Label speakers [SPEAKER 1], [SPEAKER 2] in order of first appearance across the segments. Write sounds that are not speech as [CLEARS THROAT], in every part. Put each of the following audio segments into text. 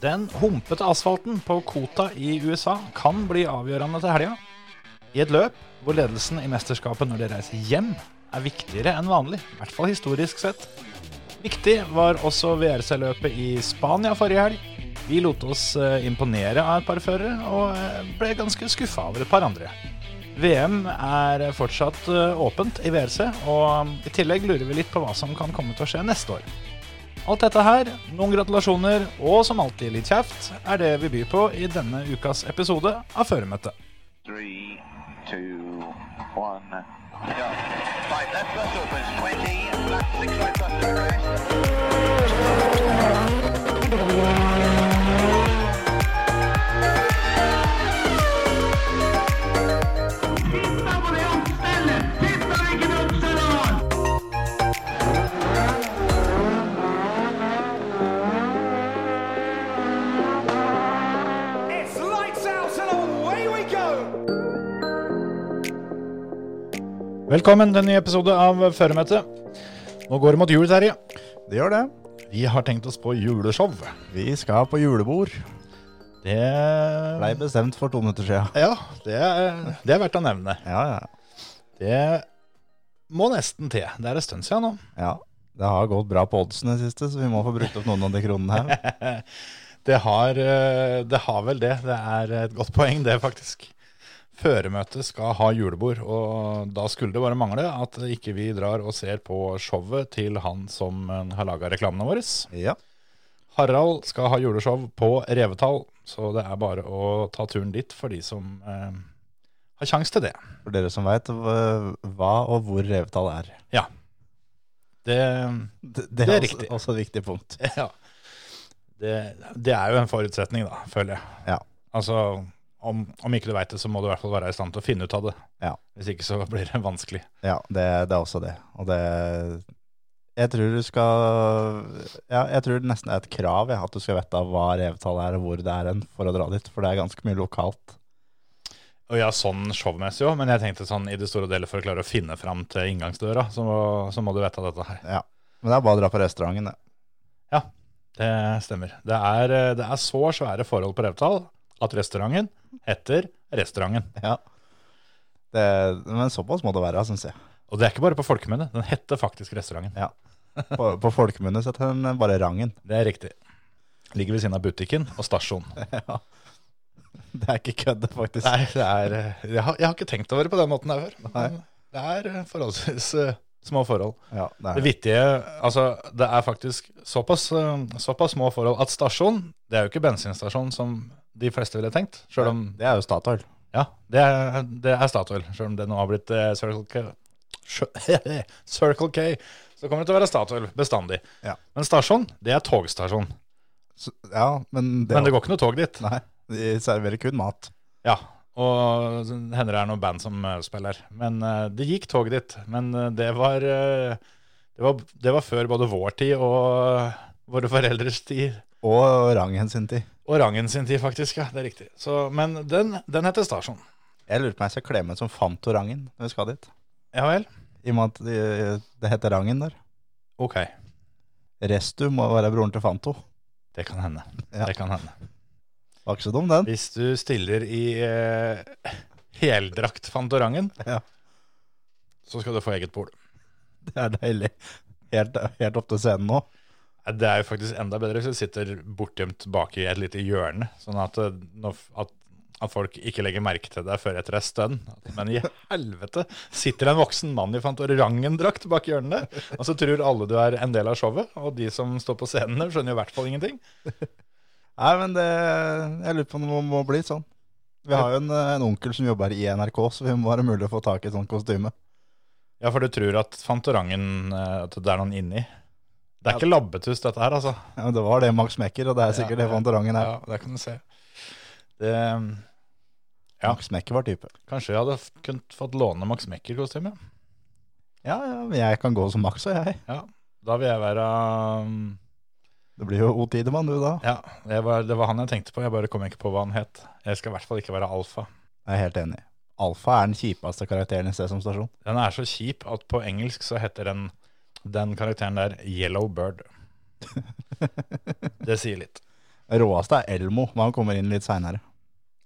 [SPEAKER 1] Den humpete asfalten på Kota i USA kan bli avgjørende til helga. I et løp hvor ledelsen i mesterskapet når de reiser hjem, er viktigere enn vanlig. I hvert fall historisk sett. Viktig var også VRC-løpet i Spania forrige helg. Vi lot oss eh, imponere av et par førere, og eh, ble ganske skuffa over et par andre. VM er fortsatt eh, åpent i VRC, og i tillegg lurer vi litt på hva som kan komme til å skje neste år. Alt dette her, noen gratulasjoner og som alltid litt kjeft, er det vi byr på i denne ukas episode av Føremøtet.
[SPEAKER 2] Three, two, one, go. Right, left bus opens, 20, left six right bus to rest.
[SPEAKER 3] It's lights out and away we go!
[SPEAKER 1] Velkommen til en ny episode av Føremøtet. Nå går det mot jul, Terje.
[SPEAKER 4] Det gjør det.
[SPEAKER 1] Vi har tenkt oss på juleshow.
[SPEAKER 4] Vi skal på julebord.
[SPEAKER 1] Det
[SPEAKER 4] Blei bestemt for to minutter siden.
[SPEAKER 1] Ja, det er, det er verdt å nevne.
[SPEAKER 4] Ja, ja.
[SPEAKER 1] Det må nesten til. Det er en stund siden nå.
[SPEAKER 4] ja. Det har gått bra på oddsen i det siste, så vi må få brukt opp noen av de kronene her. [LAUGHS]
[SPEAKER 1] Det har, eh, det har vel det. Det er et godt poeng, det, faktisk. Føremøtet skal ha julebord, og da skulle det bare mangle at ikke vi drar og ser på showet til han som eh, har laga reklamene våre.
[SPEAKER 4] Ja.
[SPEAKER 1] Harald skal ha juleshow på Revetall, så det er bare å ta turen dit for de som eh, har sjanse til det.
[SPEAKER 4] For dere som veit hva og hvor revetall er.
[SPEAKER 1] Ja. Det,
[SPEAKER 4] Det,
[SPEAKER 1] Det er
[SPEAKER 4] også-
[SPEAKER 1] riktig.
[SPEAKER 4] Også et viktig punkt.
[SPEAKER 1] [LAUGHS] ja. det, det er jo en forutsetning, da, føler jeg.
[SPEAKER 4] Ja.
[SPEAKER 1] Altså, om, om ikke du veit det, så må du i hvert fall være i stand til å finne ut av det.
[SPEAKER 4] Ja.
[SPEAKER 1] Hvis ikke så [LAUGHS] blir det vanskelig.
[SPEAKER 4] ja det, det er også det. Og det Jeg tror du skal Ja, jeg tror det nesten er et krav ja, at du skal vite hva revetall er, og hvor det er hen, for å dra dit. For det er ganske mye lokalt.
[SPEAKER 1] Og ja, sånn showmessig òg, men jeg tenkte sånn i det store og hele for å klare å finne fram til inngangsdøra, så må, så må du vite dette her.
[SPEAKER 4] Ja. Men det er bare å dra på restauranten, det.
[SPEAKER 1] Ja, det stemmer. Det er, eh, det er så svære forhold på Revetal at restauranten heter Restauranten.
[SPEAKER 4] Ja. Det, men såpass må det være, syns jeg.
[SPEAKER 1] Og det er ikke bare på folkemunne, den heter faktisk Restauranten.
[SPEAKER 4] Ja. På, på folkemunne så heter den bare [LAUGHS] Rangen.
[SPEAKER 1] Det er riktig. Ligger ved siden av butikken og stasjonen.
[SPEAKER 4] Det er ikke kødd, faktisk.
[SPEAKER 1] Nei, det er, eh, jeg, har, jeg har ikke tenkt over det på den måten der før. Men det er forholdsvis eh, små forhold.
[SPEAKER 4] Ja, det
[SPEAKER 1] Det
[SPEAKER 4] er det.
[SPEAKER 1] vittige Altså, det er faktisk såpass, eh, såpass små forhold at stasjon Det er jo ikke bensinstasjon som de fleste ville tenkt. Selv om
[SPEAKER 4] Det er jo Statoil.
[SPEAKER 1] Ja, det er, det er Statoil. Selv om det nå har blitt eh, Circle K. [LAUGHS] Sjø- Circle K. Så kommer det til å være Statoil bestandig.
[SPEAKER 4] Ja.
[SPEAKER 1] Men stasjon, det er togstasjon.
[SPEAKER 4] Så, ja, men det,
[SPEAKER 1] Men det går ikke noe tog dit.
[SPEAKER 4] Nei, de serverer kun mat.
[SPEAKER 1] Ja, og så hender det er noen band som eh, spiller. Men eh, det gikk tog dit. Men eh, det var, eh, det var Det var før både vår tid og eh, våre foreldres tid.
[SPEAKER 4] Og Rangen sin tid.
[SPEAKER 1] Og rangen sin tid, faktisk. ja, Det er riktig. Så, men den, den heter Stasjon.
[SPEAKER 4] Jeg lurer på om jeg skal kle meg ut som Fantorangen når vi skal dit.
[SPEAKER 1] Ja vel?
[SPEAKER 4] I og med at det, det heter Rangen der.
[SPEAKER 1] Ok.
[SPEAKER 4] Restu må være broren til Fanto.
[SPEAKER 1] Det kan hende.
[SPEAKER 4] Ja.
[SPEAKER 1] Det kan hende.
[SPEAKER 4] Var ikke så dum, den.
[SPEAKER 1] Hvis du stiller i eh, heldrakt Fantorangen,
[SPEAKER 4] Ja.
[SPEAKER 1] så skal du få eget bord.
[SPEAKER 4] Det er deilig. Helt, helt opp til scenen nå.
[SPEAKER 1] Nei, Det er jo faktisk enda bedre hvis du sitter bortgjemt bak i et lite hjørne, sånn at, eh, når f- at, at folk ikke legger merke til deg før etter ei stund. Men i helvete, sitter det en voksen mann i Fantorangen-drakt bak hjørnet, og så tror alle du er en del av showet, og de som står på scenen der, skjønner jo i hvert fall ingenting.
[SPEAKER 4] Nei, men det, jeg lurer på om det må, må bli sånn. Vi har jo en, en onkel som jobber i NRK, så vi må være mulig å få tak i et sånt kostyme.
[SPEAKER 1] Ja, for du tror at Fantorangen eh, At det er noen inni. Det er ikke labbetuss, dette her, altså.
[SPEAKER 4] Ja, men det var det Max Mekker, og det er sikkert
[SPEAKER 1] Ja,
[SPEAKER 4] det Fantorangen er.
[SPEAKER 1] Ja, det kan du se. Det, ja.
[SPEAKER 4] Max Mekker var type.
[SPEAKER 1] kanskje jeg hadde f- kunnet fått låne Max Mekker-kostyme?
[SPEAKER 4] Ja, ja, men jeg kan gå som Max og jeg.
[SPEAKER 1] Ja. Da vil jeg være um,
[SPEAKER 4] Det blir jo O. Tidemann du da.
[SPEAKER 1] Ja, jeg var, det var han jeg tenkte på. Jeg bare kom ikke på hva han het. Jeg skal i hvert fall ikke være alfa.
[SPEAKER 4] Jeg er helt enig. Alfa er den kjipeste karakteren i Sesam Stasjon.
[SPEAKER 1] Den er så kjip at på engelsk så heter den, den karakteren der Yellow Bird. Det sier litt.
[SPEAKER 4] Råeste er Elmo, men han kommer inn litt seinere.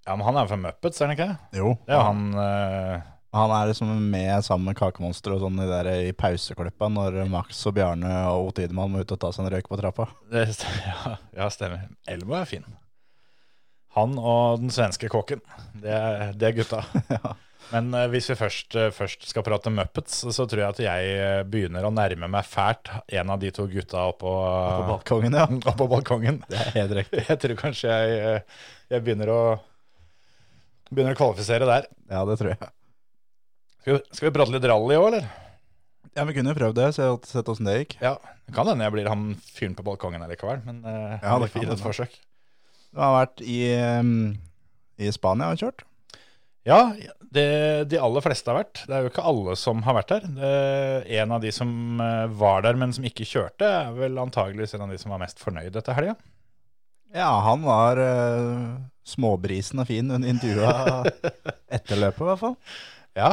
[SPEAKER 1] Ja, men han er jo fra Muppets, er han ikke det?
[SPEAKER 4] Jo.
[SPEAKER 1] Det er jo han eh,
[SPEAKER 4] Han er liksom med sammen med Kakemonster og sånn i, der, i pauseklippa når Max og Bjarne og Ote Idemann må ut og ta seg en røyk på trappa.
[SPEAKER 1] det, [LAUGHS] ja, ja, stemmer. Elmo er fin. Han og den svenske kokken. Det, er- det er gutta.
[SPEAKER 4] Ja.
[SPEAKER 1] Men eh, hvis vi først, eh, først skal prate Muppets, så tror jeg at jeg eh, begynner å nærme meg fælt en av de to gutta oppå,
[SPEAKER 4] På balkongen,
[SPEAKER 1] [LAUGHS]
[SPEAKER 4] ja.
[SPEAKER 1] oppå balkongen.
[SPEAKER 4] Det er helt riktig.
[SPEAKER 1] [LAUGHS] Jeg tror kanskje jeg, eh, jeg begynner å Begynner å kvalifisere der.
[SPEAKER 4] Ja, det tror jeg.
[SPEAKER 1] Skal vi, skal vi prate litt rally òg, eller?
[SPEAKER 4] Ja, Vi kunne jo prøvd det, se sett åssen det gikk.
[SPEAKER 1] Ja, Det kan hende jeg blir han fyren på balkongen allikevel, men eh,
[SPEAKER 4] Ja,
[SPEAKER 1] vi får
[SPEAKER 4] det kan
[SPEAKER 1] gi det et
[SPEAKER 4] hende.
[SPEAKER 1] forsøk.
[SPEAKER 4] Du har vært i, um, i Spania og kjørt.
[SPEAKER 1] Ja, det, de aller fleste har vært. Det er jo ikke alle som har vært der. Det, en av de som eh, var der, men som ikke kjørte, er vel antageligvis en av de som var mest fornøyd etter helga.
[SPEAKER 4] Ja, han var eh, småbrisen og fin under intervjuet etter løpet, i hvert fall.
[SPEAKER 1] Ja,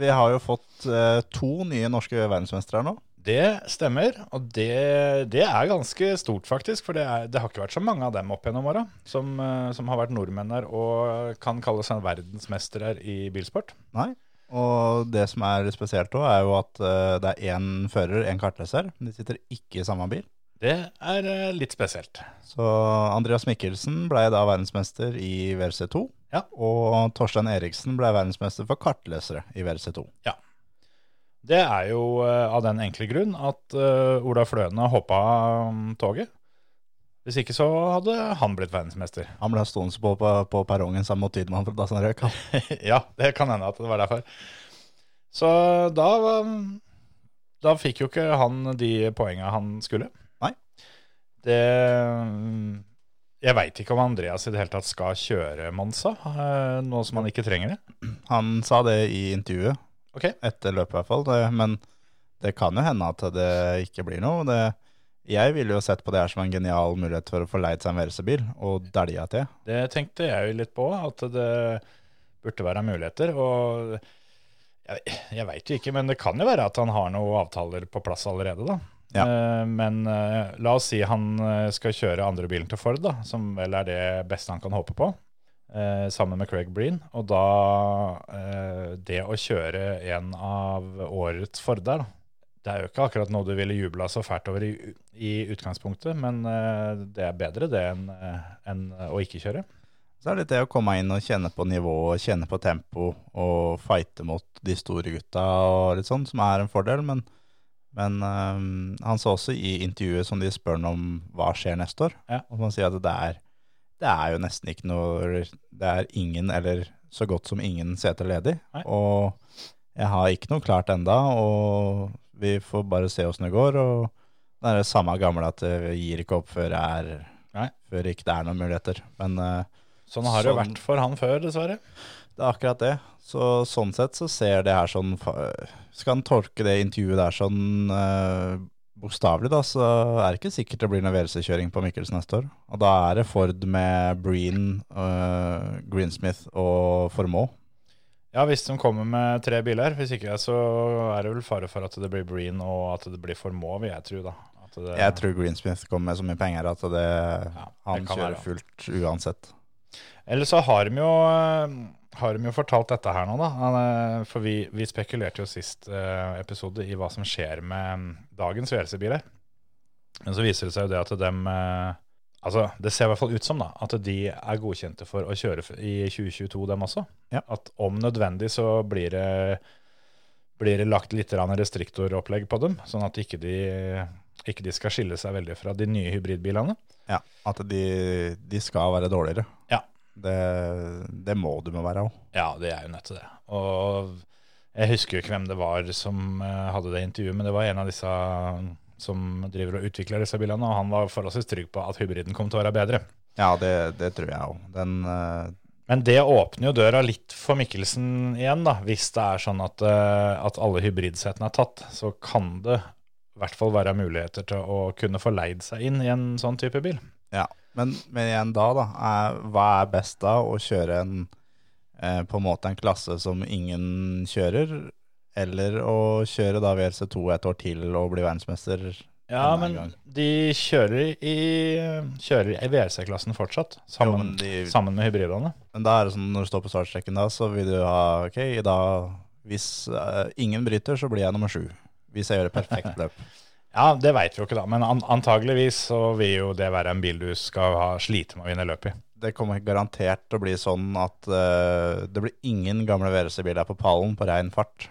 [SPEAKER 4] Vi har jo fått eh, to nye norske verdensmestere her nå.
[SPEAKER 1] det stemmer. Og det, det er ganske stort, faktisk. For det, er, det har ikke vært så mange av dem opp gjennom åra som, eh, som har vært nordmenn der og kan kalle seg verdensmestere i bilsport.
[SPEAKER 4] Nei. Og det som er spesielt òg, er jo at eh, det er én fører, én kartleser. De sitter ikke i samme bil.
[SPEAKER 1] Det er eh, litt spesielt.
[SPEAKER 4] Så Andreas Mikkelsen ble da verdensmester i WRC2.
[SPEAKER 1] Ja.
[SPEAKER 4] Og Torstein Eriksen ble verdensmester for kartlesere i WRC2.
[SPEAKER 1] Det er jo eh, av den enkle grunn at eh, Ola Fløne hoppa av mm, toget. Hvis ikke så hadde han blitt verdensmester.
[SPEAKER 4] Han ble stående på, på, på perrongen sammen med Tidemann fra Dassen Røyk. han.
[SPEAKER 1] [LAUGHS] ja, det kan hende at det var derfor. Så da, mm, da fikk jo ikke han de poenga han skulle.
[SPEAKER 4] Nei.
[SPEAKER 1] Det mm, Jeg veit ikke om Andreas i det hele tatt skal kjøre Monza, eh, nå som han ikke trenger det.
[SPEAKER 4] Han sa det i intervjuet,
[SPEAKER 1] Ok.
[SPEAKER 4] etter løpet i hvert fall. Det, men det kan jo hende at det ikke blir noe. Det, jeg ville jo sett på det her som en genial mulighet for å få leid seg en WRC-bil, og dælja til.
[SPEAKER 1] Det tenkte jeg jo litt på, at det burde være muligheter. Og jeg, jeg veit jo ikke, men det kan jo være at han har noen avtaler på plass allerede, da. Eh, Men eh, la oss si han eh, skal kjøre andre bilen til Ford, da, som vel er det beste han kan håpe på, eh, sammen med Craig Breen. Og da eh, det å kjøre en av årets Forder, da. Det er jo ikke akkurat noe du ville jubla så fælt over i, i utgangspunktet, men eh, det er bedre det enn eh, enn å ikke kjøre.
[SPEAKER 4] Så er det litt det å komme inn og kjenne på nivået, kjenne på tempo og fighte mot de store gutta og litt sånn, som er en fordel. Men, men øhm, han sa også i intervjuet som de spør han om hva skjer neste år,
[SPEAKER 1] Ja.
[SPEAKER 4] og man sier at det er, det er jo nesten ikke noe Det er ingen, eller så godt som ingen seter ledig.
[SPEAKER 1] Nei.
[SPEAKER 4] Og jeg har ikke noe klart enda, og vi får bare se åssen det går. Og det er det samme gamle at vi gir ikke opp før det er
[SPEAKER 1] Nei.
[SPEAKER 4] før ikke det er noen muligheter. Men øh,
[SPEAKER 1] Sånn har det jo
[SPEAKER 4] Sånn.
[SPEAKER 1] vært for han før, dessverre.
[SPEAKER 4] det er akkurat det. Så sånn sett så ser det her sånn fa- Skal en tolke det intervjuet der sånn eh, bokstavelig, da, så er det ikke sikkert det blir noe VLC-kjøring på Mikkelsen neste år. Og da er det Ford med Breen, eh, Greensmith og Formoe.
[SPEAKER 1] Ja, hvis de kommer med tre biler. Hvis ikke så er det vel fare for at det blir Breen og at det blir Formå, vil jeg tro. da. At det,
[SPEAKER 4] Jeg tror Greensmith kommer med så mye penger at det,
[SPEAKER 1] Ja,
[SPEAKER 4] han
[SPEAKER 1] det kan
[SPEAKER 4] kjører
[SPEAKER 1] være.
[SPEAKER 4] fullt uansett.
[SPEAKER 1] Eller så har de, jo, eh, har de jo fortalt dette her nå, da. Han, eh, For vi, vi spekulerte jo sist eh, episode i hva som skjer med mm, dagens VLC-biler. Men så viser det seg jo det at dem eh, Altså, det ser i hvert fall ut som da, at de er godkjente for å kjøre f- i 2022, dem også.
[SPEAKER 4] Ja.
[SPEAKER 1] At om nødvendig så blir det, blir det lagt litt grann restriktoropplegg på dem, sånn at ikke de, ikke de skal skille seg veldig fra de nye hybridbilene.
[SPEAKER 4] Ja, At de, de skal være dårligere.
[SPEAKER 1] Ja.
[SPEAKER 4] Det, det må de jo være òg.
[SPEAKER 1] Ja, det er jo nettopp det. Og jeg husker jo ikke hvem det var som eh, hadde det intervjuet, men det var en av disse um, som driver og utvikler disse bilene, og han var forholdsvis trygg på at hybriden kom til å være bedre.
[SPEAKER 4] Ja, det, det tror jeg òg. Den eh,
[SPEAKER 1] Men det åpner jo døra litt for Mikkelsen igjen, da. Hvis det er sånn at, eh, at alle hybridsetene er tatt, så kan det i hvert fall være muligheter til å kunne få leid seg inn i en sånn type bil.
[SPEAKER 4] Ja, men, men igjen da, da er, hva er best da? Å kjøre en, eh, på en måte en klasse som ingen kjører, eller å kjøre da VLC2 et år til og bli verdensmester
[SPEAKER 1] Ja,
[SPEAKER 4] Nei,
[SPEAKER 1] men
[SPEAKER 4] gang.
[SPEAKER 1] de kjører i, kjører i VRC-klassen fortsatt,
[SPEAKER 4] Jo,
[SPEAKER 1] sammen,
[SPEAKER 4] men de-
[SPEAKER 1] sammen med hybridene.
[SPEAKER 4] Men da er det sånn når du står på startstreken da, så vil du ha Ok, i dag Hvis eh, ingen bryter, så blir jeg nummer sju. Hvis jeg gjør et perfekt løp.
[SPEAKER 1] Ja, det veit vi jo ikke, da, men an antageligvis så vil jo det være en bil du skal ha slite med å vinne løp i.
[SPEAKER 4] Det kommer garantert til å bli sånn at eh, det blir ingen gamle VRC-biler på pallen på rein fart.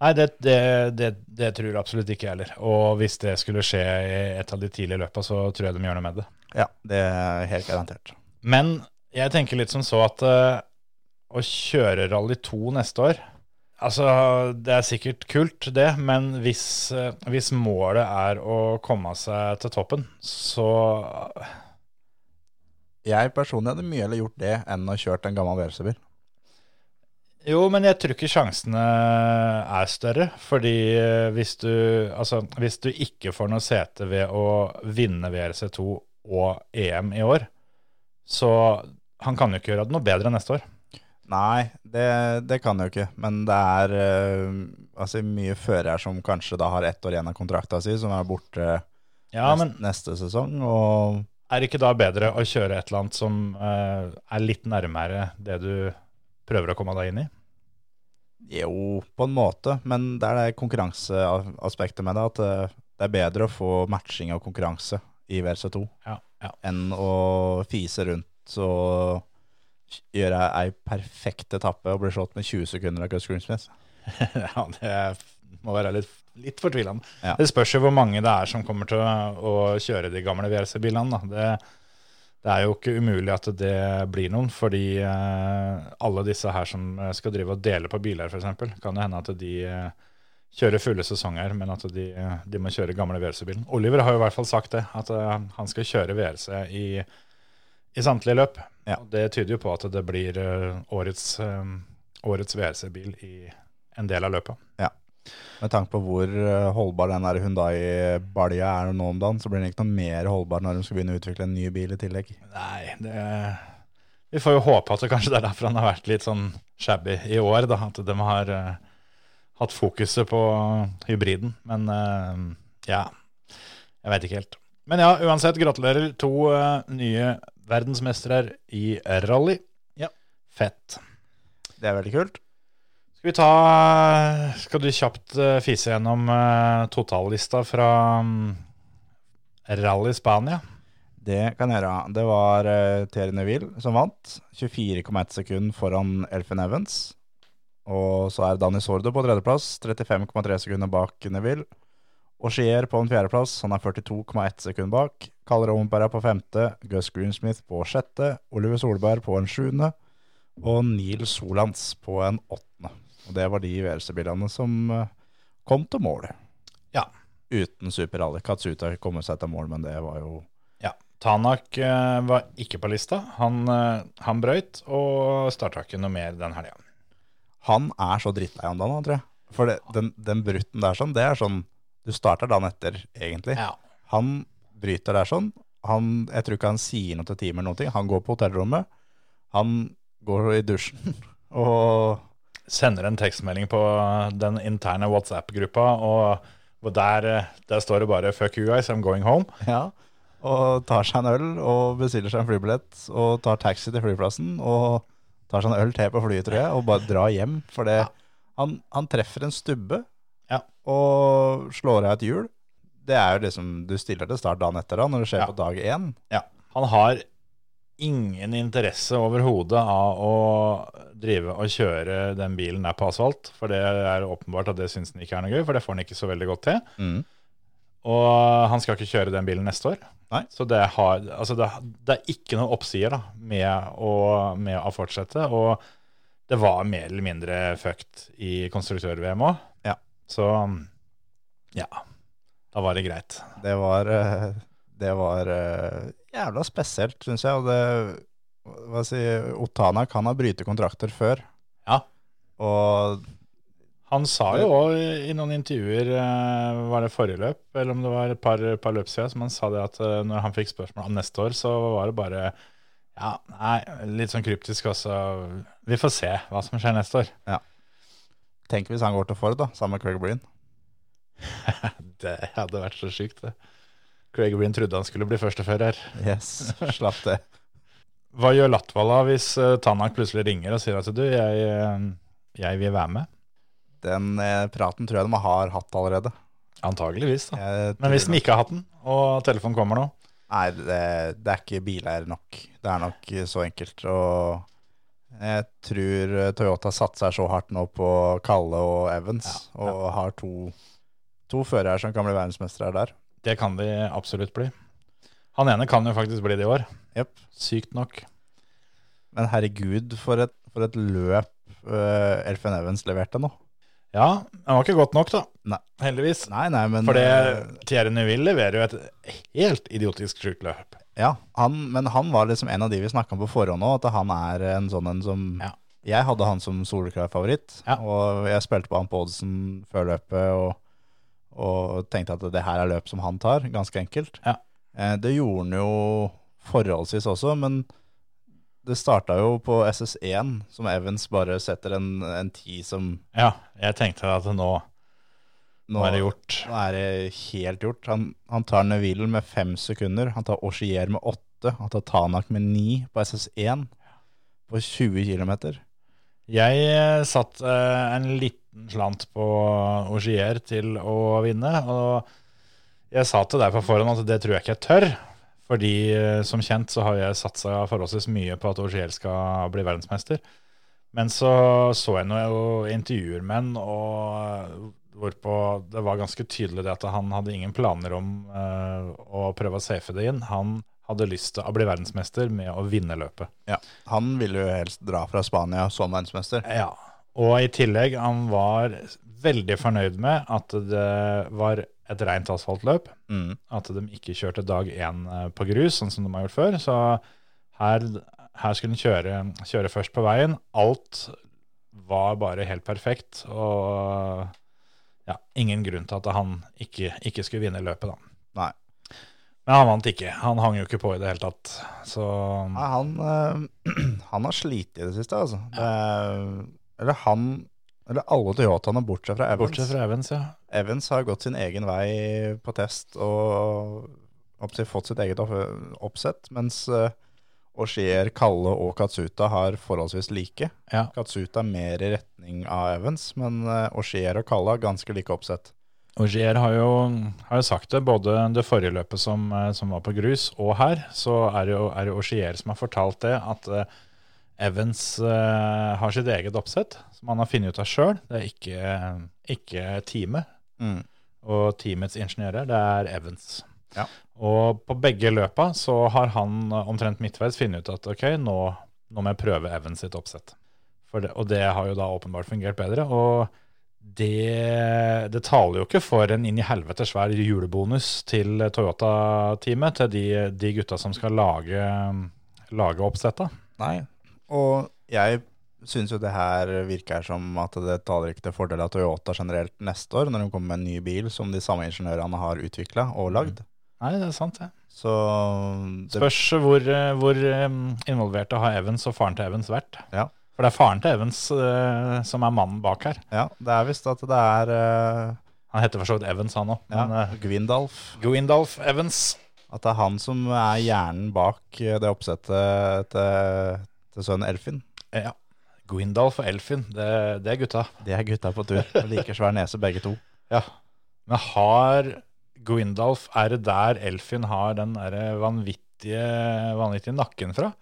[SPEAKER 1] Nei, det, det, det, det tror jeg absolutt ikke jeg heller. Og hvis det skulle skje i et av de tidlige løpa, så tror jeg de gjør noe med det.
[SPEAKER 4] Ja, det er helt garantert.
[SPEAKER 1] Men jeg tenker litt som så at eh, å kjøre Rally 2 neste år Altså, det er sikkert kult, det, men hvis, eh, hvis målet er å komme seg til toppen, så
[SPEAKER 4] Jeg personlig hadde mye heller gjort det enn å kjørt en gammel VRC-bil.
[SPEAKER 1] Jo, men jeg tror ikke sjansene er større. Fordi eh, hvis du, altså, hvis du ikke får noe sete ved å vinne VRC2 og EM i år, så han kan jo ikke gjøre det noe bedre neste år.
[SPEAKER 4] Nei, det, det kan jeg jo ikke. Men det er eh, altså mye førere som kanskje da har ett år igjen av kontrakta si, som er borte
[SPEAKER 1] Ja,
[SPEAKER 4] nest-
[SPEAKER 1] men
[SPEAKER 4] neste sesong. Og
[SPEAKER 1] er det ikke da bedre å kjøre et eller annet som eh, er litt nærmere det du prøver å komme deg inn i?
[SPEAKER 4] jo, på en måte. Men det er det konkurranseaspektet med det. At eh, det er bedre å få matching og konkurranse i VRC2
[SPEAKER 1] Ja, ja.
[SPEAKER 4] enn å fise rundt og gjøre ei perfekt etappe og bli slått med 20 sekunder av Gus Greensmith.
[SPEAKER 1] [LAUGHS] ja det må være litt, litt fortvilende.
[SPEAKER 4] Ja.
[SPEAKER 1] Det spørs jo hvor mange det er som kommer til å, å kjøre de gamle VRC-bilene. da. Det, det er jo ikke umulig at det blir noen, fordi eh, alle disse her som eh, skal drive og dele på biler, f.eks., kan det hende at de eh, kjører fulle sesonger, men at de, de må kjøre gamle VRC-bilen. Oliver har jo i hvert fall sagt det, at eh, han skal kjøre VRC i, i samtlige løp.
[SPEAKER 4] Ja.
[SPEAKER 1] Og Det tyder jo på at det blir eh, årets, eh, årets VRC-bil i en del av løpet.
[SPEAKER 4] Med tanke på hvor eh, holdbar den Hundai-balja er nå om dagen, så blir den ikke noe mer holdbar når de skal begynne å utvikle en ny bil i tillegg.
[SPEAKER 1] Nei, det Vi får jo håpe at det kanskje det er derfor han har vært litt sånn shabby i år, da. At de har eh, hatt fokuset på hybriden. Men eh, ja, jeg veit ikke helt. Men ja, uansett, gratulerer. To eh, nye verdensmestere i rally.
[SPEAKER 4] Ja.
[SPEAKER 1] Fett.
[SPEAKER 4] Det er veldig kult.
[SPEAKER 1] Skal vi ta Skal du kjapt eh, fise gjennom eh, totallista fra mm, Rally Spania?
[SPEAKER 4] Det kan jeg gjøre. Det var uh, Thierry Neville som vant, 24,1 sekund foran Elfin Evans. Og så er Dani Sordo på tredjeplass, 35,3 sekunder bak Neville. Og Skier på en fjerdeplass, han er 42,1 sekund bak. Kalle Rompera på femte, Gus Greensmith på sjette, Oliver Solberg på en sjuende, og Neil Solans på en åttende. Og det var de VRC-bilene som eh, kom til mål.
[SPEAKER 1] Ja.
[SPEAKER 4] Uten superrally. Katsuta kom seg til mål, men det var jo
[SPEAKER 1] Ja. Tanak eh, var ikke på lista. Han, eh, han brøyt og starta ikke noe mer den helga.
[SPEAKER 4] Han er så drittlei om dagen, han, tror jeg. For det, den, den brutten der sånn, det er sånn Du starter dagen etter, egentlig.
[SPEAKER 1] Ja.
[SPEAKER 4] Han bryter der sånn. Han, jeg tror ikke han sier noe til teamet eller noe. Han går på hotellrommet. Han går i dusjen [LAUGHS] og
[SPEAKER 1] Sender en tekstmelding på den interne WhatsApp-gruppa, og hvor der, eh, der står det bare 'fuck you guys, I'm going home'.
[SPEAKER 4] Ja. Og tar seg en øl og bestiller seg en flybillett og tar taxi til flyplassen og tar seg en øl til på flyet, tror jeg, og bare drar hjem. For det, han, han treffer en stubbe
[SPEAKER 1] Ja.
[SPEAKER 4] og slår av et hjul. Det er jo liksom Du stiller til start dagen etter da, når det skjer
[SPEAKER 1] Ja.
[SPEAKER 4] på dag én.
[SPEAKER 1] Ja. Han har ingen interesse overhodet av å drive og kjøre den bilen der på asfalt, for det er åpenbart at det syns han ikke er noe gøy, for det får han ikke så veldig godt til. Og han skal ikke kjøre den bilen neste år.
[SPEAKER 4] Nei.
[SPEAKER 1] Så det, har, altså det, det er ikke noen oppsider da, med, å, med å fortsette. Og det var mer eller mindre fucked i konstruktør-VM òg.
[SPEAKER 4] Ja.
[SPEAKER 1] Så ja, da var det greit.
[SPEAKER 4] Det var, eh, det var eh, jævla spesielt, syns jeg. Og det, hva skal jeg si, Otana kan ha brytet kontrakter før.
[SPEAKER 1] Ja.
[SPEAKER 4] Og
[SPEAKER 1] Han sa jo òg i noen intervjuer, eh, var det forrige løp, eller om det var et par, par løp siden, som han sa det at eh, når han fikk spørsmål om neste år, så var det bare ja, nei, litt sånn kryptisk også. Vi får se hva som skjer neste år.
[SPEAKER 4] tenk hvis han går til Ford, da, sammen med Craig Breen.
[SPEAKER 1] Det hadde vært så sykt, det. Craig Breen trodde han skulle bli førstefører.
[SPEAKER 4] Yes, [LAUGHS] slapp det.
[SPEAKER 1] Hva gjør Latvala hvis eh, Tanak plutselig ringer og sier at du, jeg, eh, jeg vil være med?
[SPEAKER 4] Den eh, praten tror jeg de har hatt allerede.
[SPEAKER 1] Antageligvis, da.
[SPEAKER 4] Jeg tror
[SPEAKER 1] Men hvis den
[SPEAKER 4] nok-
[SPEAKER 1] ikke har hatt den, og telefonen kommer nå
[SPEAKER 4] Nei, det, det er ikke bileier nok. Det er nok så enkelt. Og jeg tror Toyota satser så hardt nå på Kalle og Evans,
[SPEAKER 1] Ja, ja.
[SPEAKER 4] og har to, to førere som kan bli verdensmestere der.
[SPEAKER 1] Det kan de absolutt bli. Han ene kan jo faktisk bli det i år.
[SPEAKER 4] Jep.
[SPEAKER 1] Sykt nok.
[SPEAKER 4] Men herregud, for et, for et løp eh, Elfin Evans leverte nå.
[SPEAKER 1] Ja, det var ikke godt nok, da.
[SPEAKER 4] Nei.
[SPEAKER 1] Heldigvis.
[SPEAKER 4] Nei, nei, men
[SPEAKER 1] For
[SPEAKER 4] eh,
[SPEAKER 1] det Thierry Neuville leverer jo et helt idiotisk sjukt løp.
[SPEAKER 4] Ja, han, men han var liksom en av de vi snakka om på forhånd òg, at han er en sånn en som
[SPEAKER 1] Ja.
[SPEAKER 4] Jeg hadde han som solkraftfavoritt,
[SPEAKER 1] Ja.
[SPEAKER 4] og jeg spilte på han på oddsen før løpet og, og tenkte at det her er løp som han tar, ganske enkelt.
[SPEAKER 1] Ja.
[SPEAKER 4] Eh, Det gjorde han jo forholdsvis også, men det starta jo på SS1, som Evans bare setter en, en ti som
[SPEAKER 1] Ja, jeg tenkte at nå, nå er det gjort.
[SPEAKER 4] nå er det helt gjort. Han, han tar Neville med fem sekunder, han tar Oshier med åtte, han tar Tanak med ni på SS1 på 20 km.
[SPEAKER 1] Jeg eh, satt eh, en liten slant på Ogier til å vinne, og jeg sa til deg på forhånd at det tror jeg ikke jeg tør. Fordi eh, som kjent så har jeg satsa forholdsvis mye på at Ogier skal bli verdensmester. Men så så jeg noen intervjuer med han, og hvorpå det var ganske tydelig det at han hadde ingen planer om eh, å prøve å safe det inn. Han hadde lyst til å bli verdensmester med å vinne løpet.
[SPEAKER 4] Han ville jo helst dra fra Spania som verdensmester.
[SPEAKER 1] Ja, og i tillegg han var veldig fornøyd med at det var et rent asfaltløp,
[SPEAKER 4] Mm.
[SPEAKER 1] at de ikke kjørte dag én eh, på grus, sånn som de har gjort før. Så her, her skulle de kjøre, kjøre først på veien. Alt var bare helt perfekt, og ja, ingen grunn til at han ikke, ikke skulle vinne løpet, da.
[SPEAKER 4] Nei.
[SPEAKER 1] Men han vant ikke. Han hang jo ikke på i det hele tatt. Så
[SPEAKER 4] Nei, han, eh, [CLEARS THROAT] han har slitt i det siste, altså. Det, er- eller han Eller alle Toyotaene, bortsett fra Evans.
[SPEAKER 1] bortsett fra Evans, ja.
[SPEAKER 4] Evans har gått sin egen vei på test og opptil fått sitt eget opp- oppsett, mens eh, Oshier, Kalle og Katsuta har forholdsvis like.
[SPEAKER 1] Ja.
[SPEAKER 4] Katsuta er mer i retning av Evans, men eh, Oshier og Kalle har ganske like oppsett.
[SPEAKER 1] Ogier har jo, har jo sagt det, både det forrige løpet som, eh, som var på grus, og her, så er det jo er det Ogier som har fortalt det, at eh, Evans eh, har sitt eget oppsett, som han har funnet ut av sjøl. Det er ikke, ikke teamet og teamets ingeniører, det er Evans.
[SPEAKER 4] Ja.
[SPEAKER 1] Og på begge løpa så har han eh, omtrent midtveis funnet ut at ok, nå, nå må jeg prøve Evans sitt oppsett. For det, og det har jo da åpenbart fungert bedre. Og det, det taler jo ikke for en inn i helvete svær julebonus til Toyota-teamet, til de, de gutta som skal lage, lage oppsetta.
[SPEAKER 4] Nei. Og jeg syns jo det her virker som at det taler ikke til fordel av Toyota generelt neste år, når de kommer med en ny bil som de samme ingeniørene har utvikla og lagd.
[SPEAKER 1] Nei, det er sant, det.
[SPEAKER 4] Så det,
[SPEAKER 1] Spørs hvor, eh, hvor eh, involverte har Evans og faren til Evans vært.
[SPEAKER 4] Ja.
[SPEAKER 1] For det er faren til Evans eh, som er mannen bak her.
[SPEAKER 4] ja, det er visst at det er eh,
[SPEAKER 1] Han heter for så vidt Evans, han òg.
[SPEAKER 4] Ja,
[SPEAKER 1] Men eh,
[SPEAKER 4] Gwindalf.
[SPEAKER 1] Gwindalf Evans.
[SPEAKER 4] At det er han som er hjernen bak eh, det oppsettet til, til sønnen Elfin.
[SPEAKER 1] Eh, Ja. Gwindalf og Elfin, det, det er gutta.
[SPEAKER 4] De er gutta på tur. og Liker svær nese, begge to.
[SPEAKER 1] Ja. Men har Gwindalf Er det der Elfin har den derre vanvittige, vanvittige nakken fra?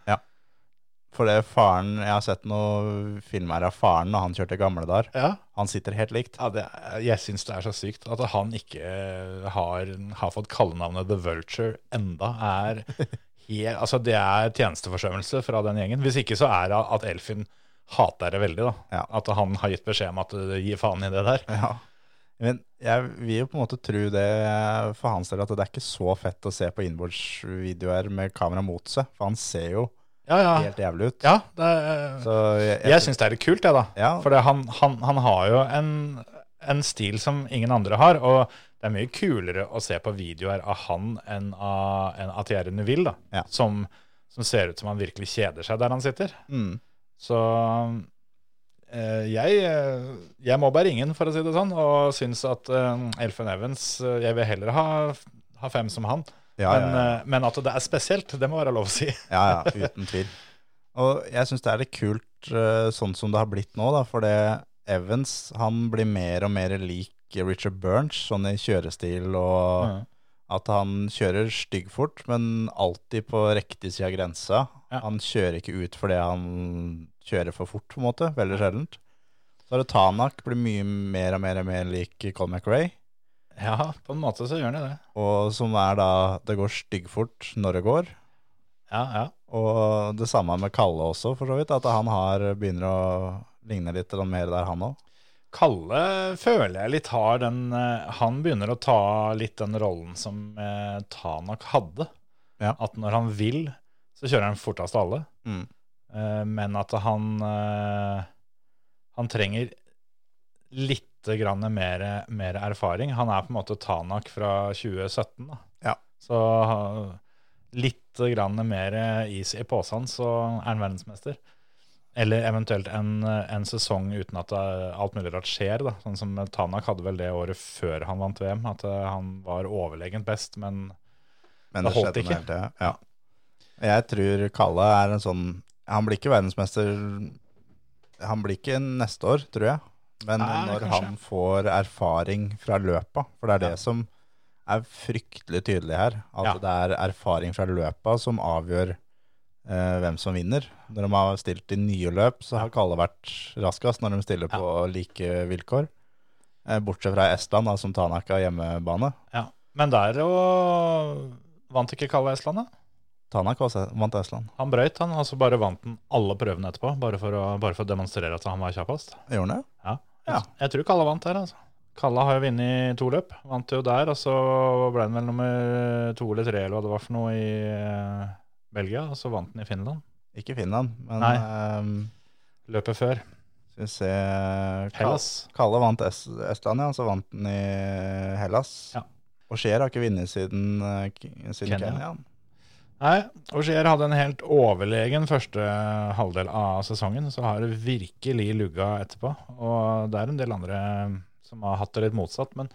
[SPEAKER 4] For det er faren Jeg har sett noen filmer av faren når han kjørte gamle dager.
[SPEAKER 1] Ja.
[SPEAKER 4] Han sitter helt likt.
[SPEAKER 1] det, er- Eh, jeg syns det er så sykt at han ikke har, har fått kallenavnet The Vulture enda [LAUGHS] er helt, altså Det er tjenesteforsømmelse fra den gjengen. Hvis ikke så er det at Elfin hater det veldig. da.
[SPEAKER 4] Ja.
[SPEAKER 1] At han har gitt beskjed om at eh, gi faen i det der.
[SPEAKER 4] Ja. Men jeg vil jo på en måte tro det eh, for hans del at det er ikke så fett å se på innbordsvideoer med kamera mot seg, for han ser jo
[SPEAKER 1] Ja, ja.
[SPEAKER 4] helt jævlig ut.
[SPEAKER 1] ja det er, eh,
[SPEAKER 4] Så jeg,
[SPEAKER 1] Jeg syns det er litt kult, jeg, da.
[SPEAKER 4] Ja.
[SPEAKER 1] For det- han, han, han har jo en, en stil som ingen andre har. Og det er mye kulere å se på videoer av han enn av, enn av Thierry Neuville, da.
[SPEAKER 4] Ja.
[SPEAKER 1] Som, som ser ut som han virkelig kjeder seg der han sitter.
[SPEAKER 4] Mm.
[SPEAKER 1] Så Eh, jeg, eh, jeg må bare ingen, for å si det sånn, og syns at eh, Elfen Evans eh, Jeg vil heller ha, ha fem som han,
[SPEAKER 4] Ja,
[SPEAKER 1] men,
[SPEAKER 4] ja, ja.
[SPEAKER 1] eh, men at det er spesielt, det må være lov å si. [LAUGHS]
[SPEAKER 4] ja, ja, [LAUGHS] uten tvil. Og jeg syns det er litt kult eh, sånn som det har blitt nå, da, for det Evans han blir mer og mer lik Richard Burns, sånn i kjørestil og
[SPEAKER 1] Mhm.
[SPEAKER 4] at han kjører styggfort, men alltid på riktig side av grensa.
[SPEAKER 1] Ja.
[SPEAKER 4] Han kjører ikke ut fordi han kjører for fort, på en måte. Veldig sjeldent. Så er det Tanak, blir mye mer og mer og mer lik Colin McRae.
[SPEAKER 1] Ja, på en måte så gjør han jo det.
[SPEAKER 4] Og som er da Det går styggfort når det går.
[SPEAKER 1] Ja, ja.
[SPEAKER 4] Og det samme med Kalle også, for så vidt. At han har, begynner å ligne litt mer der, han òg.
[SPEAKER 1] Kalle føler jeg litt har den eh, Han begynner å ta litt den rollen som eh, Tanak hadde.
[SPEAKER 4] Ja.
[SPEAKER 1] At når han vil, så kjører han fortest av alle.
[SPEAKER 4] Mm.
[SPEAKER 1] Eh, men at han eh, Han trenger litt grann mer, mer erfaring. Han er på en måte Tanak fra 2017. Da.
[SPEAKER 4] Ja.
[SPEAKER 1] Så ha- litt grann mer is i posen, så er han verdensmester. Eller eventuelt en, en sesong uten at det, alt mulig rart skjer. Da. Sånn som Tanak hadde vel det året før han vant VM, at eh, han var overlegent best, men
[SPEAKER 4] Men
[SPEAKER 1] Det
[SPEAKER 4] det,
[SPEAKER 1] holdt
[SPEAKER 4] skjedde
[SPEAKER 1] ikke.
[SPEAKER 4] ikke. Hele tiden. Ja. Jeg tror Kalle er en sånn Han blir ikke verdensmester Han blir ikke neste år, tror jeg. Men
[SPEAKER 1] Nei,
[SPEAKER 4] når
[SPEAKER 1] kanskje.
[SPEAKER 4] han får erfaring fra løpa, for det er
[SPEAKER 1] Ja.
[SPEAKER 4] det som er fryktelig tydelig her. At
[SPEAKER 1] Ja.
[SPEAKER 4] det er erfaring fra løpa som avgjør eh, hvem som vinner. Når de har stilt i nye løp, så har Kalle vært raskest når de stiller på like vilkår. Eh, bortsett fra Estland, da, som Tanak har hjemmebane.
[SPEAKER 1] ja. Men der jo vant ikke Kalle Estland, da?
[SPEAKER 4] Tanak også vant Estland.
[SPEAKER 1] Han brøyt, han, og så bare vant han alle prøvene etterpå. Bare for å, bare for å demonstrere at han var kjappest.
[SPEAKER 4] Gjorde han det?
[SPEAKER 1] Ja. Jeg,
[SPEAKER 4] Ja.
[SPEAKER 1] jeg tror Kalle vant der, altså. Kalle har jo vunnet to løp. Vant jo der, og så ble han vel nummer to eller tre eller hva det var for noe i eh, Belgia, og så vant han i Finland.
[SPEAKER 4] Ikke Finland, men
[SPEAKER 1] Nei.
[SPEAKER 4] ehm,
[SPEAKER 1] Løpet før.
[SPEAKER 4] skal vi se Kal-
[SPEAKER 1] Hellas.
[SPEAKER 4] Kalle vant es Estland, ja, så vant han i Hellas.
[SPEAKER 1] Ja.
[SPEAKER 4] Og Scheer har ikke vunnet siden, eh, K- siden
[SPEAKER 1] Kenya.
[SPEAKER 4] Kenya.
[SPEAKER 1] Nei, Auger hadde en helt overlegen første halvdel av sesongen, så har det virkelig lugga etterpå. Og det er en del andre som har hatt det litt motsatt, men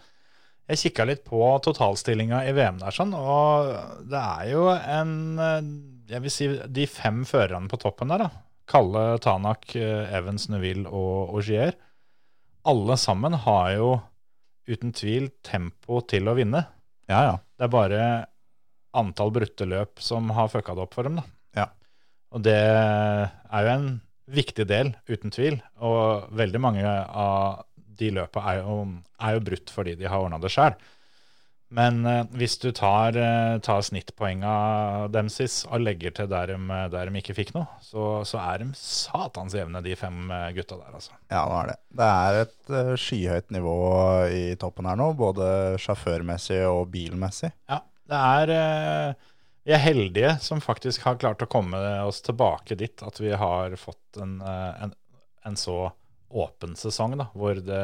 [SPEAKER 1] jeg kikka litt på totalstillinga i VM der, sånn, og det er jo en eh, Jeg vil si de fem førerne på toppen der, da. Kalle, Tanak, eh, Evans, Neville og Auger. Alle sammen har jo uten tvil tempo til å vinne.
[SPEAKER 4] Ja, ja.
[SPEAKER 1] Det er bare antall brutte løp som har fucka det opp for dem, da.
[SPEAKER 4] Ja.
[SPEAKER 1] Og det er jo en viktig del, uten tvil. Og veldig mange av de løpa er jo, er jo brutt fordi de har ordna det sjøl. Men eh, hvis du tar, eh, tar snittpoenga demsis og legger til der de, der de ikke fikk noe, så, så er de satans jevne, de fem eh, gutta der, altså.
[SPEAKER 4] Ja, nå er det. Det er et eh, skyhøyt nivå i toppen her nå, både sjåførmessig og bilmessig.
[SPEAKER 1] Ja, det er eh, Vi er heldige som faktisk har klart å komme oss tilbake dit at vi har fått en, eh, en, en så åpen sesong, da, hvor det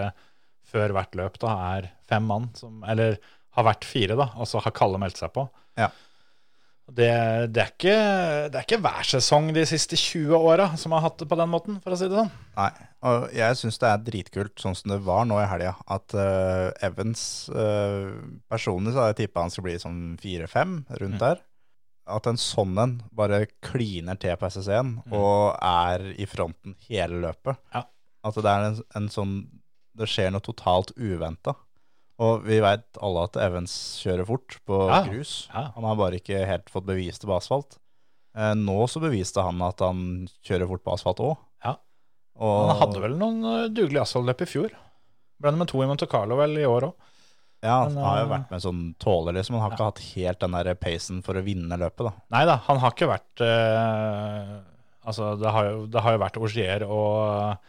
[SPEAKER 1] før hvert løp da er fem mann som Eller har vært fire, da, og så har Kalle meldt seg på.
[SPEAKER 4] Ja.
[SPEAKER 1] Det, det, er ikke, det er ikke hver sesong de siste 20 åra som har hatt det på den måten, for å si det sånn.
[SPEAKER 4] Nei, og jeg syns det er dritkult, sånn som det var nå i helga, at eh, Evans eh, Personlig så hadde jeg tippa han skulle bli sånn fire-fem, rundt
[SPEAKER 1] Mm.
[SPEAKER 4] der. At en sånn en bare kliner til på SS1 og er i fronten hele løpet.
[SPEAKER 1] Mm. Ja.
[SPEAKER 4] At det er en, en sånn Det skjer noe totalt uventa. Og vi veit alle at Evans kjører fort på
[SPEAKER 1] Ja.
[SPEAKER 4] grus.
[SPEAKER 1] Ja.
[SPEAKER 4] Han har bare ikke helt fått bevist det på asfalt. Eh, nå så beviste han at han kjører fort på asfalt òg.
[SPEAKER 1] Ja. Han hadde vel noen eh, dugelige asfaltløp i fjor. Ble nummer to i Monte Carlo vel i år òg.
[SPEAKER 4] Ja, han
[SPEAKER 1] Men,
[SPEAKER 4] har jo
[SPEAKER 1] eh,
[SPEAKER 4] vært med sånn tåler, liksom. Han har ikke hatt helt den der pacen for å vinne løpet, da.
[SPEAKER 1] Nei da, han har ikke vært eh, Altså, det har jo, det har jo vært Augier og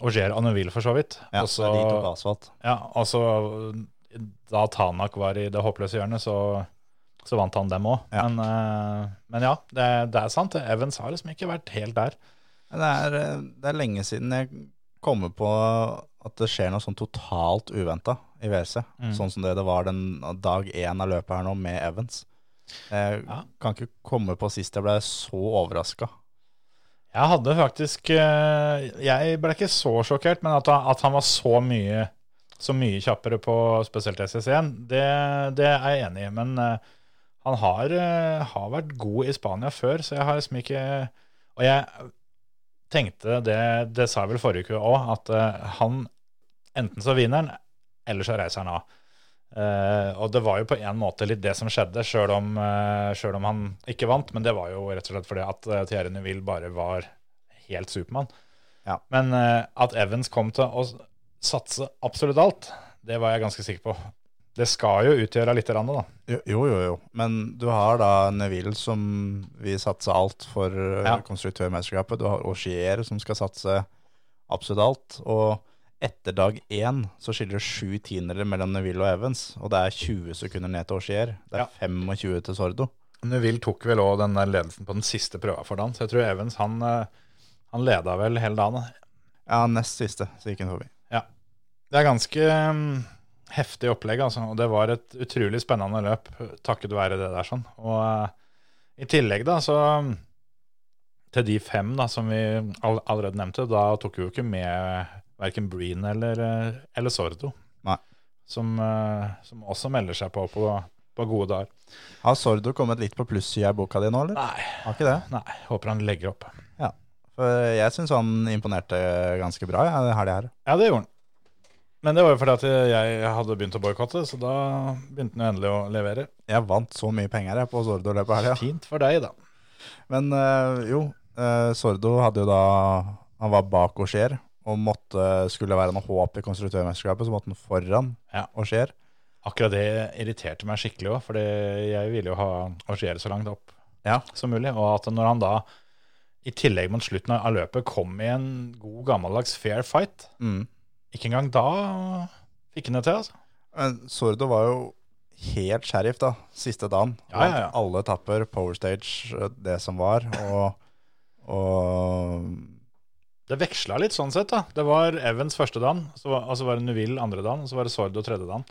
[SPEAKER 1] Augier og Neville, for så vidt.
[SPEAKER 4] Ja,
[SPEAKER 1] Og
[SPEAKER 4] så
[SPEAKER 1] så-
[SPEAKER 4] de tok asfalt.
[SPEAKER 1] ja, og så da Tanak var i det håpløse hjørnet, så, så vant han dem òg.
[SPEAKER 4] Ja.
[SPEAKER 1] Men, eh, men ja, det, det er sant. Evans har liksom ikke vært helt der.
[SPEAKER 4] Men Det er, eh, det er lenge siden jeg kommer på at det skjer noe sånn totalt uventa i WRC.
[SPEAKER 1] Mm.
[SPEAKER 4] Sånn som det det var den dag én av løpet her nå, med Evans. Jeg
[SPEAKER 1] Ja.
[SPEAKER 4] kan ikke komme på sist jeg ble så overraska.
[SPEAKER 1] Jeg hadde faktisk eh, Jeg ble ikke så sjokkert, men at han, at han var så mye, så mye kjappere på spesielt SS1, det, det er jeg enig i. Men eh, han har, eh, har vært god i Spania før, så jeg har liksom ikke Og jeg tenkte det, det sa jeg vel forrige uke òg, at eh, han enten så vinner han, eller så reiser han av. Eh, og det var jo på en måte litt det som skjedde, sjøl om, eh, selv om han ikke vant. Men det var jo rett og slett fordi at uh, Thierry Neuville bare var helt Supermann.
[SPEAKER 4] Ja.
[SPEAKER 1] Men eh, at Evans kom til å s- satse absolutt alt, det var jeg ganske sikker på. Det skal jo utgjøre litt, grann, da.
[SPEAKER 4] Jo, jo, jo. jo. Men du har da Neville som vil satse alt for eh,
[SPEAKER 1] Ja.
[SPEAKER 4] konstruktørmesterskapet. Du har Augier som skal satse absolutt alt. Og etter dag én så skiller det sju tiendere mellom Neville og Evans. Og det er 20 sekunder ned til Augier. Det
[SPEAKER 1] Ja.
[SPEAKER 4] er 25 til Sordo.
[SPEAKER 1] Neuville tok vel òg den der ledelsen på den siste prøva for han, så jeg tror Evans han, eh, han leda vel hele dagen. da.
[SPEAKER 4] Ja, nest siste, så gikk han forbi.
[SPEAKER 1] Det er ganske mm, heftig opplegg, altså. Og det var et utrolig spennende løp takket være det der sånn. Og eh, i tillegg da, så mm, til de fem da, som vi all allerede nevnte, da tok vi jo ikke med verken Breen eller, eh, eller Sordo.
[SPEAKER 4] Nei.
[SPEAKER 1] Som, eh, som også melder seg på på, på gode dager.
[SPEAKER 4] Har Sordo kommet litt på plussida i boka di nå, eller?
[SPEAKER 1] Nei.
[SPEAKER 4] Har ikke det?
[SPEAKER 1] Nei, håper han legger opp.
[SPEAKER 4] For jeg syns han imponerte ganske bra ja, det helga her.
[SPEAKER 1] Ja, det gjorde han. Men det var jo fordi at jeg hadde begynt å boikotte, så da begynte han jo endelig å levere.
[SPEAKER 4] Jeg vant så mye penger jeg på Sordo-løpet helga.
[SPEAKER 1] Fint for deg, da.
[SPEAKER 4] Men eh, jo, eh, Sordo hadde jo da Han var bak Auger og måtte, skulle være noe håp i konstruktørmesterskapet, så måtte han foran
[SPEAKER 1] Ja.
[SPEAKER 4] Auger.
[SPEAKER 1] Akkurat det irriterte meg skikkelig òg, for jeg ville jo ha Augier så langt opp
[SPEAKER 4] Ja.
[SPEAKER 1] som mulig. Og at når han da, i tillegg mot slutten av løpet, kom i en god gammeldags fair fight
[SPEAKER 4] Mm.
[SPEAKER 1] Ikke engang da fikk han det til, altså.
[SPEAKER 4] Men Sordo var jo helt sheriff, da, siste dagen.
[SPEAKER 1] Ja, ja, ja.
[SPEAKER 4] Vant Alle etapper, power stage, eh, det som var, og, og
[SPEAKER 1] Det veksla litt sånn sett, da. Det var Evans første dagen, så var, og så var det Nuville andre dagen, og så var det Sordo tredje dagen.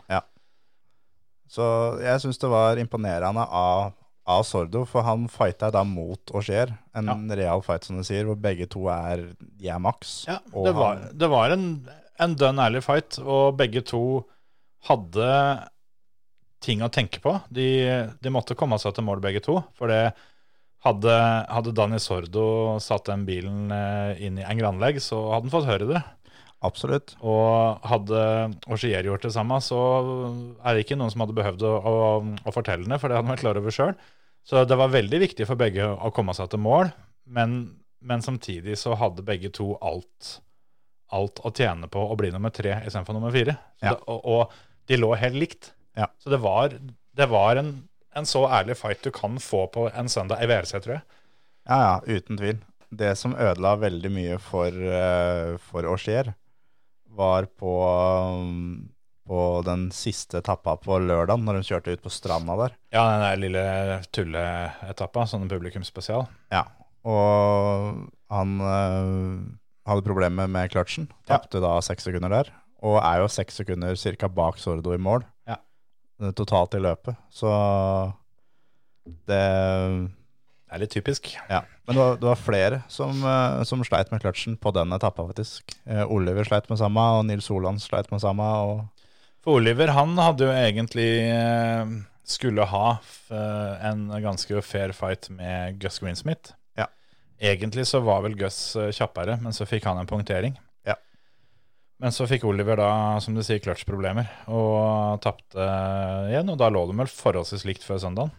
[SPEAKER 4] Så jeg syns det var imponerende av, av Sordo, for han fighta da mot Auger. En real fight, som du sier, hvor begge to er jeg er maks.
[SPEAKER 1] Ja,
[SPEAKER 4] og
[SPEAKER 1] det var,
[SPEAKER 4] han-
[SPEAKER 1] det var en, en dønn ærlig fight, og begge to hadde ting å tenke på. De, de måtte komme seg til mål, begge to. For det hadde, hadde Dani Sordo satt den bilen eh, inn i en granlegg, så hadde han fått høre det.
[SPEAKER 4] Absolutt.
[SPEAKER 1] Og hadde Augier gjort det samme, så er det ikke noen som hadde behøvd å, å, å fortelle det, for det hadde han vært klar over sjøl. Så det var veldig viktig for begge å komme seg til mål, men, men samtidig så hadde begge to alt, alt å tjene på å bli nummer tre istedenfor nummer fire. Så
[SPEAKER 4] Ja.
[SPEAKER 1] det, og, og de lå helt likt.
[SPEAKER 4] Ja.
[SPEAKER 1] Så det var, det var en, en så ærlig fight du kan få på en søndag i VRC, tror jeg.
[SPEAKER 4] Ja, ja, uten tvil. Det som ødela veldig mye for, eh, for Auger, var på, um, på den siste etappa på lørdag, når de kjørte ut på stranda der.
[SPEAKER 1] Ja, den der lille tulleetappa, sånn publikumsspesial.
[SPEAKER 4] Ja, og han eh, hadde problemer med kløtsjen.
[SPEAKER 1] Ja.
[SPEAKER 4] Tapte da seks sekunder der, og er jo seks sekunder cirka bak Sordo i mål.
[SPEAKER 1] Ja.
[SPEAKER 4] eh, Totalt i løpet, så det
[SPEAKER 1] Det er litt typisk.
[SPEAKER 4] Ja, men det var, det var flere som, eh, som sleit med kløtsjen på den etappa, faktisk. Eh, Oliver sleit med samme, og Nils Solan sleit med samme. Og
[SPEAKER 1] For Oliver han hadde jo egentlig eh, skulle ha f- eh, en ganske fair fight med Gus Greensmith.
[SPEAKER 4] Ja.
[SPEAKER 1] Egentlig så var vel Gus eh, kjappere, men så fikk han en punktering.
[SPEAKER 4] Ja.
[SPEAKER 1] Men så fikk Oliver da, som du sier, clutch-problemer og tapte eh, igjen. Og da lå de vel forholdsvis likt før søndagen.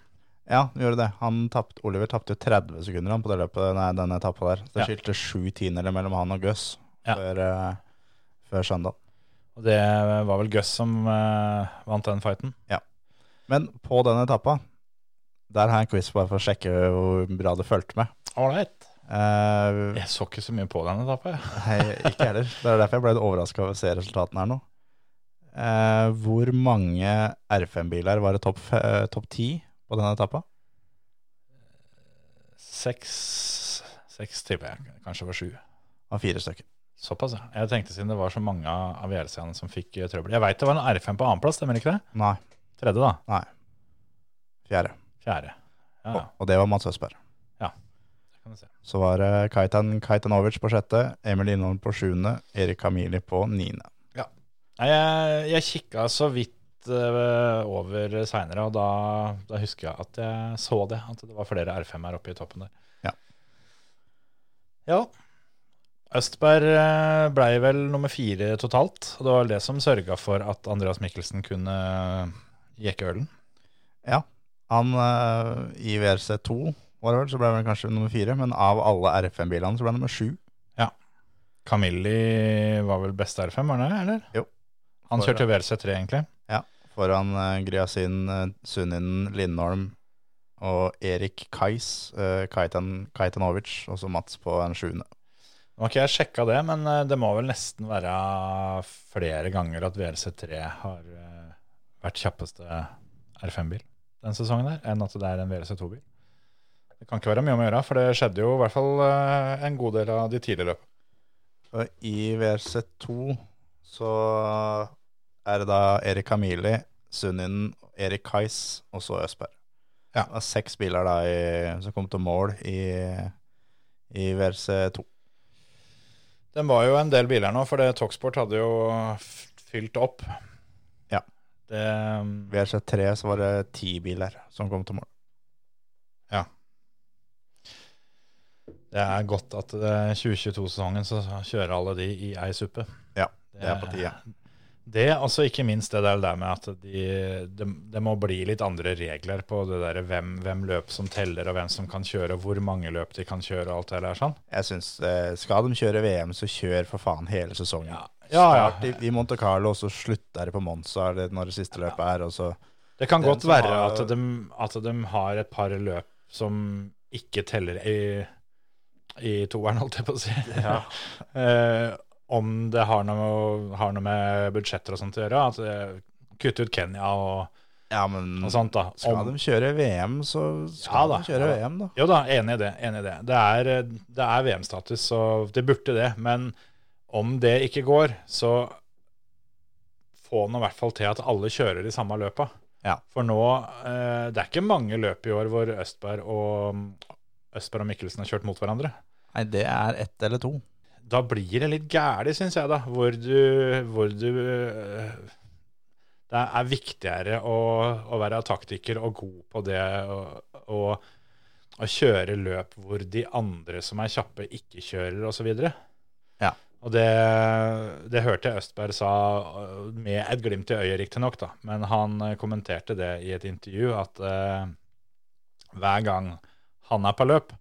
[SPEAKER 4] ja, han gjorde det. Han tapt, Oliver tapte jo 30 sekunder han på det løpet, nei, den etappa der.
[SPEAKER 1] Ja.
[SPEAKER 4] Så det skilte sju tiendere mellom han og Gus
[SPEAKER 1] Ja.
[SPEAKER 4] før, eh, før søndag.
[SPEAKER 1] Og det var vel Gus som eh, vant den fighten.
[SPEAKER 4] Men på den etappa, der har jeg en quiz bare for å sjekke hvor bra det fulgte med.
[SPEAKER 1] Ålreit.
[SPEAKER 4] Eh,
[SPEAKER 1] Jeg så ikke så mye på den etappen. jeg.
[SPEAKER 4] Nei, ikke heller. Det er derfor jeg ble overraska over å se resultatene her nå. Eh, hvor mange R5-biler var det topp f- eh, topp ti på denne etappa?
[SPEAKER 1] Seks, seks tipper jeg. Kanskje det var sju.
[SPEAKER 4] Det var fire stykker.
[SPEAKER 1] Såpass, ja. Jeg tenkte siden det var så mange av VRC-ene som fikk eh, trøbbel. Jeg veit det var en R5 på annenplass, stemmer ikke det?
[SPEAKER 4] Nei,
[SPEAKER 1] Tredje, da.
[SPEAKER 4] fjerde.
[SPEAKER 1] Fjerde. Ja, Ah.
[SPEAKER 4] Og, og det var Mats Østberg.
[SPEAKER 1] ja. Kan vi se.
[SPEAKER 4] Så var det Kaitan Kaitanovic på sjette, Emil Lindholm på sjuende, Erik Amili på niende.
[SPEAKER 1] Nei, jeg, jeg kikka så vidt eh, over seinere, og da, da husker jeg at jeg så det. At det var flere R5-er oppe i toppen der.
[SPEAKER 4] Ja.
[SPEAKER 1] Ja. Østberg eh, blei vel nummer fire totalt. og Det var det som sørga for at Andreas Mikkelsen kunne eh, jekke ølen.
[SPEAKER 4] Ja, han eh, i WRC2 var det vel, så ble han kanskje nummer fire, men av alle R5-bilene så ble han nummer sju.
[SPEAKER 1] Camilli var vel beste R5, var han det? Eller?
[SPEAKER 4] Jo.
[SPEAKER 1] Han
[SPEAKER 4] For-
[SPEAKER 1] kjørte WRC3, egentlig.
[SPEAKER 4] Foran eh, Gryasin, eh, Sunninen, Lindholm og Erik Kais, eh, Kaitan Kaitanovic, og så Mats på en sjuende.
[SPEAKER 1] Nå har ikke jeg sjekka det, men eh, det må vel nesten være flere ganger at VLC3 har eh, vært kjappeste R5-bil den sesongen der, enn at det er en VLC2-bil. Det kan ikke være mye om å gjøre, for det skjedde jo i hvert fall eh, en god del av de tidligere løpene.
[SPEAKER 4] Og I WRC2 så er det da Erik Kamili, Sunninen, Erik Kais og så Østberg.
[SPEAKER 1] Ja.
[SPEAKER 4] Det er seks biler da i, som kom til mål i, i WRC2.
[SPEAKER 1] Den var jo en del biler nå, for det Talksport hadde jo f- fylt opp.
[SPEAKER 4] Ja.
[SPEAKER 1] Det, mm,
[SPEAKER 4] I WRC3 så var det ti biler som kom til mål.
[SPEAKER 1] det er godt at eh, 2022-sesongen så kjører alle de i ei suppe.
[SPEAKER 4] Ja, det er på tide.
[SPEAKER 1] Det, altså ikke minst det der, der med at de, det, det må bli litt andre regler på det der hvem, hvem løp som teller, og hvem som kan kjøre, og hvor mange løp de kan kjøre, og alt det der sånn.
[SPEAKER 4] Jeg synes, eh, Skal de kjøre VM, så kjør for faen hele sesongen.
[SPEAKER 1] ja,
[SPEAKER 4] Start
[SPEAKER 1] ja.
[SPEAKER 4] i, i Monte Carlo, og så slutter det på Monza eller når det siste løpet er. og så...
[SPEAKER 1] Det kan
[SPEAKER 4] Den
[SPEAKER 1] godt
[SPEAKER 4] som
[SPEAKER 1] være
[SPEAKER 4] har-
[SPEAKER 1] at, de, at de har et par løp som ikke teller i, i toeren, holdt jeg på å si. [LAUGHS] Eh, om det har noe, har noe med budsjetter og sånt å gjøre. At eh, Kutte ut Kenya og,
[SPEAKER 4] Ja, men
[SPEAKER 1] og sånt, da.
[SPEAKER 4] skal
[SPEAKER 1] Om-
[SPEAKER 4] de kjøre VM, så
[SPEAKER 1] Ja
[SPEAKER 4] skal
[SPEAKER 1] da,
[SPEAKER 4] de
[SPEAKER 1] ja
[SPEAKER 4] kjøre
[SPEAKER 1] da.
[SPEAKER 4] VM, da.
[SPEAKER 1] Jo da, enig i det. Enig i det. Det er, eh, det er VM-status, så det burde det. Men om det ikke går, så få nå i hvert fall til at alle kjører de samme løpa.
[SPEAKER 4] Ja.
[SPEAKER 1] For nå eh, Det er ikke mange løp i år hvor Østberg og, mm, Østberg og Mikkelsen har kjørt mot hverandre.
[SPEAKER 4] Nei, det er ett eller to.
[SPEAKER 1] Da blir det litt gæli, syns jeg, da. Hvor du, hvor du eh, Det er viktigere å, å være taktiker og god på det og, og, og kjøre løp hvor de andre som er kjappe, ikke kjører, osv.
[SPEAKER 4] Ja.
[SPEAKER 1] Og det, det hørte jeg Østberg sa eh, med et glimt i øyet, riktignok, da. Men han eh, kommenterte det i et intervju at eh, hver gang han er på løp,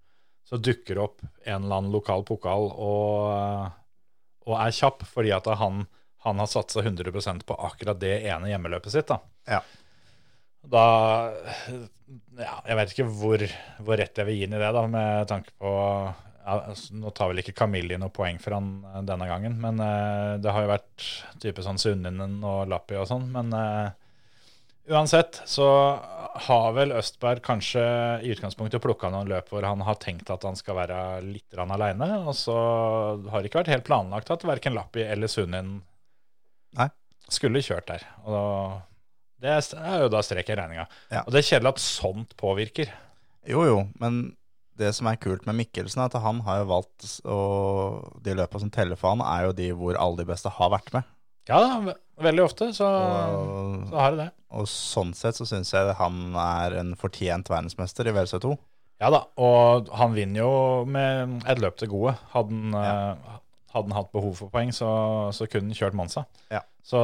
[SPEAKER 1] så dukker det opp en eller annen lokal pokal og, eh, og er kjapp, fordi at han, han har satsa 100 på akkurat det ene hjemmeløpet sitt. Da.
[SPEAKER 4] Ja.
[SPEAKER 1] Da ja, Jeg vet ikke hvor, hvor rett jeg vil gi inn i det, da, med tanke på ja, altså, Nå tar vel ikke Camille noe poeng for han eh, denne gangen, men eh, det har jo vært type sånn Sunninen og Lappi og sånn, men eh, Uansett så har vel Østberg kanskje i utgangspunktet plukka noen løp hvor han har tenkt at han skal være litt aleine, og så har det ikke vært helt planlagt at verken Lappi eller Sunin
[SPEAKER 4] Nei.
[SPEAKER 1] skulle kjørt der. Og da, det er jo da strek i regninga.
[SPEAKER 4] Ja.
[SPEAKER 1] Og det er kjedelig at sånt påvirker.
[SPEAKER 4] Jo, jo, men det som er kult med Mikkelsen, er at han har jo valgt å De løpa som teller for han, er jo de hvor alle de beste har vært med.
[SPEAKER 1] Ja da, ve- veldig ofte så,
[SPEAKER 4] Og,
[SPEAKER 1] så har det det.
[SPEAKER 4] og sånn sett så syns jeg han er en fortjent verdensmester i WRC2.
[SPEAKER 1] Ja da, og han vinner jo med et løp til gode. Hadde han, eh, hadde han hatt behov for poeng, så, så kunne han kjørt Monza.
[SPEAKER 4] Ja.
[SPEAKER 1] Så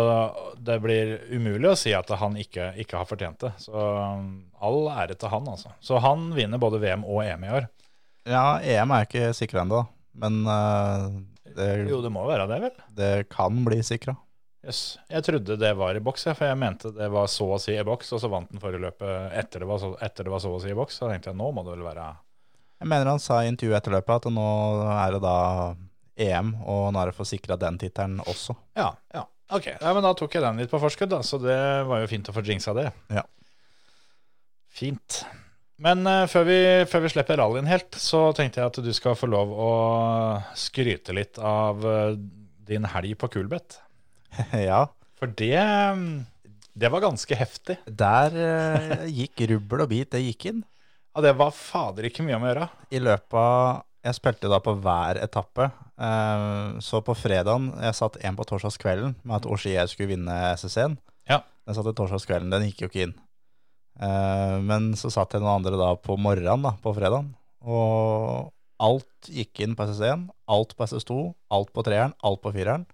[SPEAKER 1] det blir umulig å si at han ikke, ikke har fortjent det. Så um, all ære til han, altså. Så han vinner både VM og EM i år.
[SPEAKER 4] Ja, EM er ikke sikra ennå, men eh, det,
[SPEAKER 1] Jo, det må jo være det, vel?
[SPEAKER 4] det kan bli sikra.
[SPEAKER 1] Jøss. Jeg trodde det var i boks, jeg, for jeg mente det var så å si i boks, og så vant den forrige løpet etter det var så, etter det var så å si i boks. Så tenkte jeg nå må det vel være
[SPEAKER 4] Jeg mener han sa i intervjuet etter løpet at nå er det da EM, og nå er det for sikra den tittelen også. [LAUGHS]
[SPEAKER 1] Ja, ja. Ok, ja, men da tok jeg den litt på forskudd, da, så det var jo fint å få jinxa det.
[SPEAKER 4] Ja.
[SPEAKER 1] Fint. Men eh, før, vi, før vi slipper rallyen helt, så tenkte jeg at du skal få lov å skryte litt av eh, din helg på Kulbeth.
[SPEAKER 4] ja.
[SPEAKER 1] For det, mm, det var ganske heftig.
[SPEAKER 4] Der eh, gikk rubbel og bit, det gikk inn.
[SPEAKER 1] Ja, det var fader ikke mye om å gjøre.
[SPEAKER 4] I løpet av Jeg spilte da på hver etappe. Eh, Så på fredagen Jeg satt en på torsdagskvelden med at Oshier skulle vinne SSC-en.
[SPEAKER 1] Ja.
[SPEAKER 4] Den satt i torsdagskvelden. Den gikk jo ikke inn. Eh, Men så satt jeg noen andre da på morgenen da, på fredagen. Og alt gikk inn på SSC-en. Alt på SS2, alt på treeren, alt på fireren.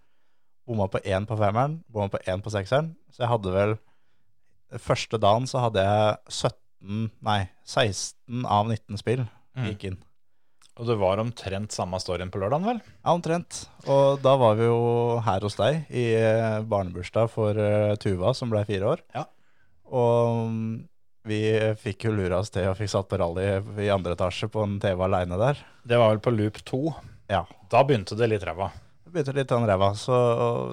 [SPEAKER 4] Bomma på én på femmeren, bomma på én på sekseren. Så jeg hadde vel Første dagen så hadde jeg 17, nei 16 av 19 spill
[SPEAKER 1] Mm.
[SPEAKER 4] gikk inn.
[SPEAKER 1] Og det var omtrent samme storyen på lørdagen, vel?
[SPEAKER 4] Ja, omtrent. Og da var vi jo her hos deg i eh, barnebursdag for eh, Tuva, som ble fire år.
[SPEAKER 1] Ja.
[SPEAKER 4] Og mm, vi fikk jo lura oss til og fikk satt på rally i andre etasje på en TV aleine der.
[SPEAKER 1] Det var vel på loop to.
[SPEAKER 4] Ja.
[SPEAKER 1] Da begynte det litt ræva.
[SPEAKER 4] Det begynte litt den ræva, så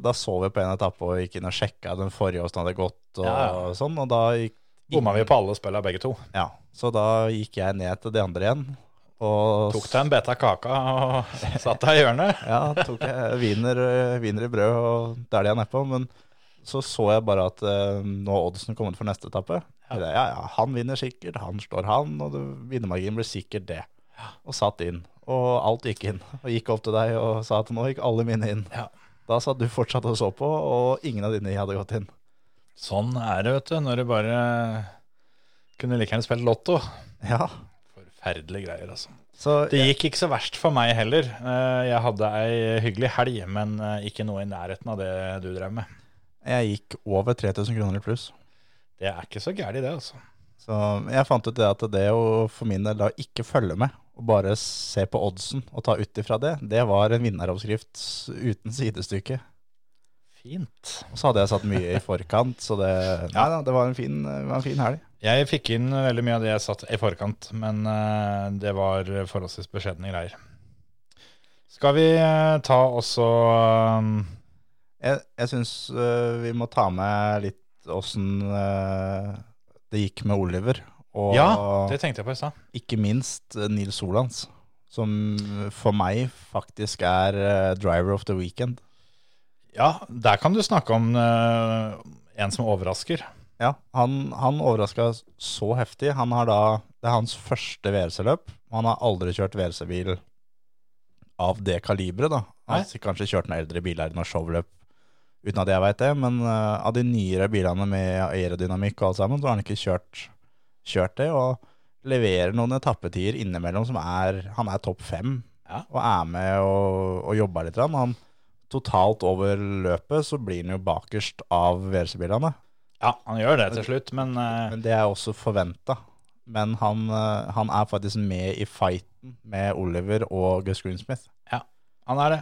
[SPEAKER 4] da så vi på en etappe og gikk inn og sjekka den forrige åssen hadde gått, og
[SPEAKER 1] Ja, ja.
[SPEAKER 4] sånn, og da gikk
[SPEAKER 1] Bomma vi på alle spillene begge to.
[SPEAKER 4] Ja. Så da gikk jeg ned til de andre igjen. Og
[SPEAKER 1] Tok deg en bete av kaka og [LAUGHS] satt deg i hjørnet.
[SPEAKER 4] Ja, tok jeg viner, viner i brød og der de er nedpå. Men så så jeg bare at eh, nå er oddsen kommet for neste etappe. Ja. ja, ja, han vinner sikkert, han slår han, og det- vinnermarginen blir sikkert det. Og satt inn. Og alt gikk inn. Og gikk opp til deg og sa at nå gikk alle mine inn.
[SPEAKER 1] Ja.
[SPEAKER 4] Da satt du fortsatt og så på, og ingen av dine hadde gått inn.
[SPEAKER 1] Sånn er det, vet du, når du bare kunne like gjerne spilt lotto.
[SPEAKER 4] Ja,
[SPEAKER 1] Forferdelige greier, altså.
[SPEAKER 4] så
[SPEAKER 1] Det gikk ikke så verst for meg heller. Eh, Jeg hadde ei hyggelig helg, men eh, ikke noe i nærheten av det du drev med.
[SPEAKER 4] jeg gikk over 3000 kroner i pluss.
[SPEAKER 1] Det er ikke så gærent, det, altså.
[SPEAKER 4] Så jeg fant ut det at det å for min del da ikke følge med, og bare se på oddsen og ta ut ifra det, det var en vinneroppskrift s- uten sidestykke.
[SPEAKER 1] Fint.
[SPEAKER 4] Og så hadde jeg satt mye i forkant, så
[SPEAKER 1] [LAUGHS]
[SPEAKER 4] det, nei, da, det var en fin, det var en fin helg.
[SPEAKER 1] Jeg fikk inn veldig mye av det jeg satt i forkant, men eh, det var forholdsvis beskjedne greier. Skal vi eh, ta også um,
[SPEAKER 4] Jeg, jeg syns øh, vi må ta med litt åssen øh, det gikk med Oliver, og
[SPEAKER 1] Ja, det tenkte jeg på i stad.
[SPEAKER 4] ikke minst øh, Nils Solands, som for meg faktisk er øh, driver of the weekend.
[SPEAKER 1] Ja, der kan du snakke om eh, en som overrasker.
[SPEAKER 4] Ja, han, han overraska så heftig. Han har da, det er hans første VRC-løp. Han har aldri kjørt VRC-bil av det kaliberet, da. Han har kanskje kjørt noen eldre biler i noen showløp, uten at jeg veit det. Men eh, av de nyere bilene med aerodynamikk og alt sammen, så har han ikke kjørt, kjørt det. Og leverer noen etappetider innimellom som er Han er topp fem,
[SPEAKER 1] Ja.
[SPEAKER 4] og er med og, og jobber litt. grann. Han, totalt over løpet så blir han jo bakerst av VRC-bilene.
[SPEAKER 1] Ja, han gjør det til slutt, men eh,
[SPEAKER 4] Men det er også forventa. Men han, eh, han er faktisk med i fighten med Oliver og Gus Greensmith.
[SPEAKER 1] han er det.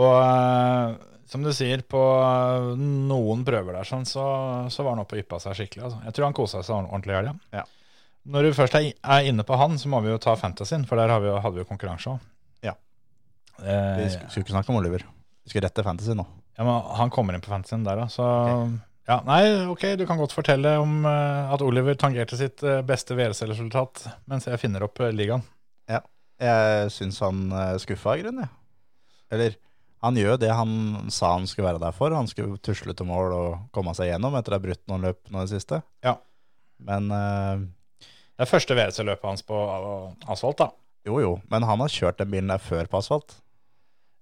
[SPEAKER 1] Og eh, som du sier, på eh, noen prøver der sånn, så, så var han oppe og yppa seg skikkelig. Altså. Jeg tror han kosa seg ordent- ordentlig i helga.
[SPEAKER 4] Ja.
[SPEAKER 1] Når du først er i- er inne på han, så må vi jo ta fantasyen, for der har vi, jo- hadde vi jo konkurranse òg.
[SPEAKER 4] Ja. Vi
[SPEAKER 1] Eh,
[SPEAKER 4] sk- skulle ikke snakke om Oliver. Vi skulle rette fantasy nå.
[SPEAKER 1] ja, men han kommer inn på fantasyen der òg, så ja, Nei, ok, du kan godt fortelle om eh, at Oliver tangerte sitt eh, beste VRC-resultat mens jeg finner opp eh, ligaen.
[SPEAKER 4] Jeg syns han eh, skuffa i grunnen, jeg. Eller han gjør det han sa han skulle være der for. Han skulle tusle til mål og komme seg gjennom etter å ha brutt noen løp nå i det siste.
[SPEAKER 1] Ja.
[SPEAKER 4] Men eh,
[SPEAKER 1] Det er første VRC-løpet hans på asfalt, da.
[SPEAKER 4] jo, jo. Men han har kjørt den bilen der før på asfalt.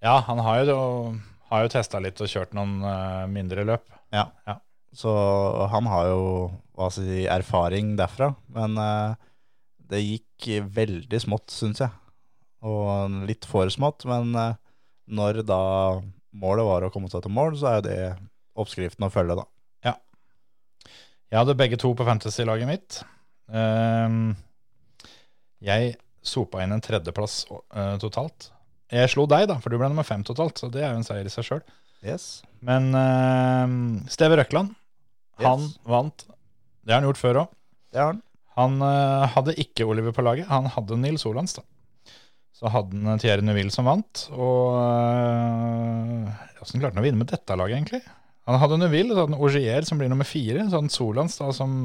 [SPEAKER 1] Ja, han har jo, har jo testa litt og kjørt noen eh, mindre løp.
[SPEAKER 4] Ja.
[SPEAKER 1] Ja.
[SPEAKER 4] Så han har jo hva skal jeg si, erfaring derfra. Men eh, det gikk veldig smått, syns jeg. Og litt for smått. Men eh, når da målet var å komme seg til mål, så er jo det oppskriften å følge, da.
[SPEAKER 1] Jeg hadde begge to på fantasy-laget mitt. Ehm, jeg sopa inn en tredjeplass eh, totalt. Jeg slo deg, da, for du ble nummer fem totalt, så det er jo en seier i seg sjøl.
[SPEAKER 4] Yes.
[SPEAKER 1] Men eh, Steve Røkland, han
[SPEAKER 4] Yes.
[SPEAKER 1] vant. Det har han gjort før òg.
[SPEAKER 4] Det har han.
[SPEAKER 1] Han eh, hadde ikke Oliver på laget, han hadde Nils Olands da. Så hadde han eh, Thierry Neuville som vant, og eh, hvordan klarte han å vinne med dette laget egentlig? Han hadde Neuville, så hadde han Ogier som blir nummer fire, så hadde han Solans da som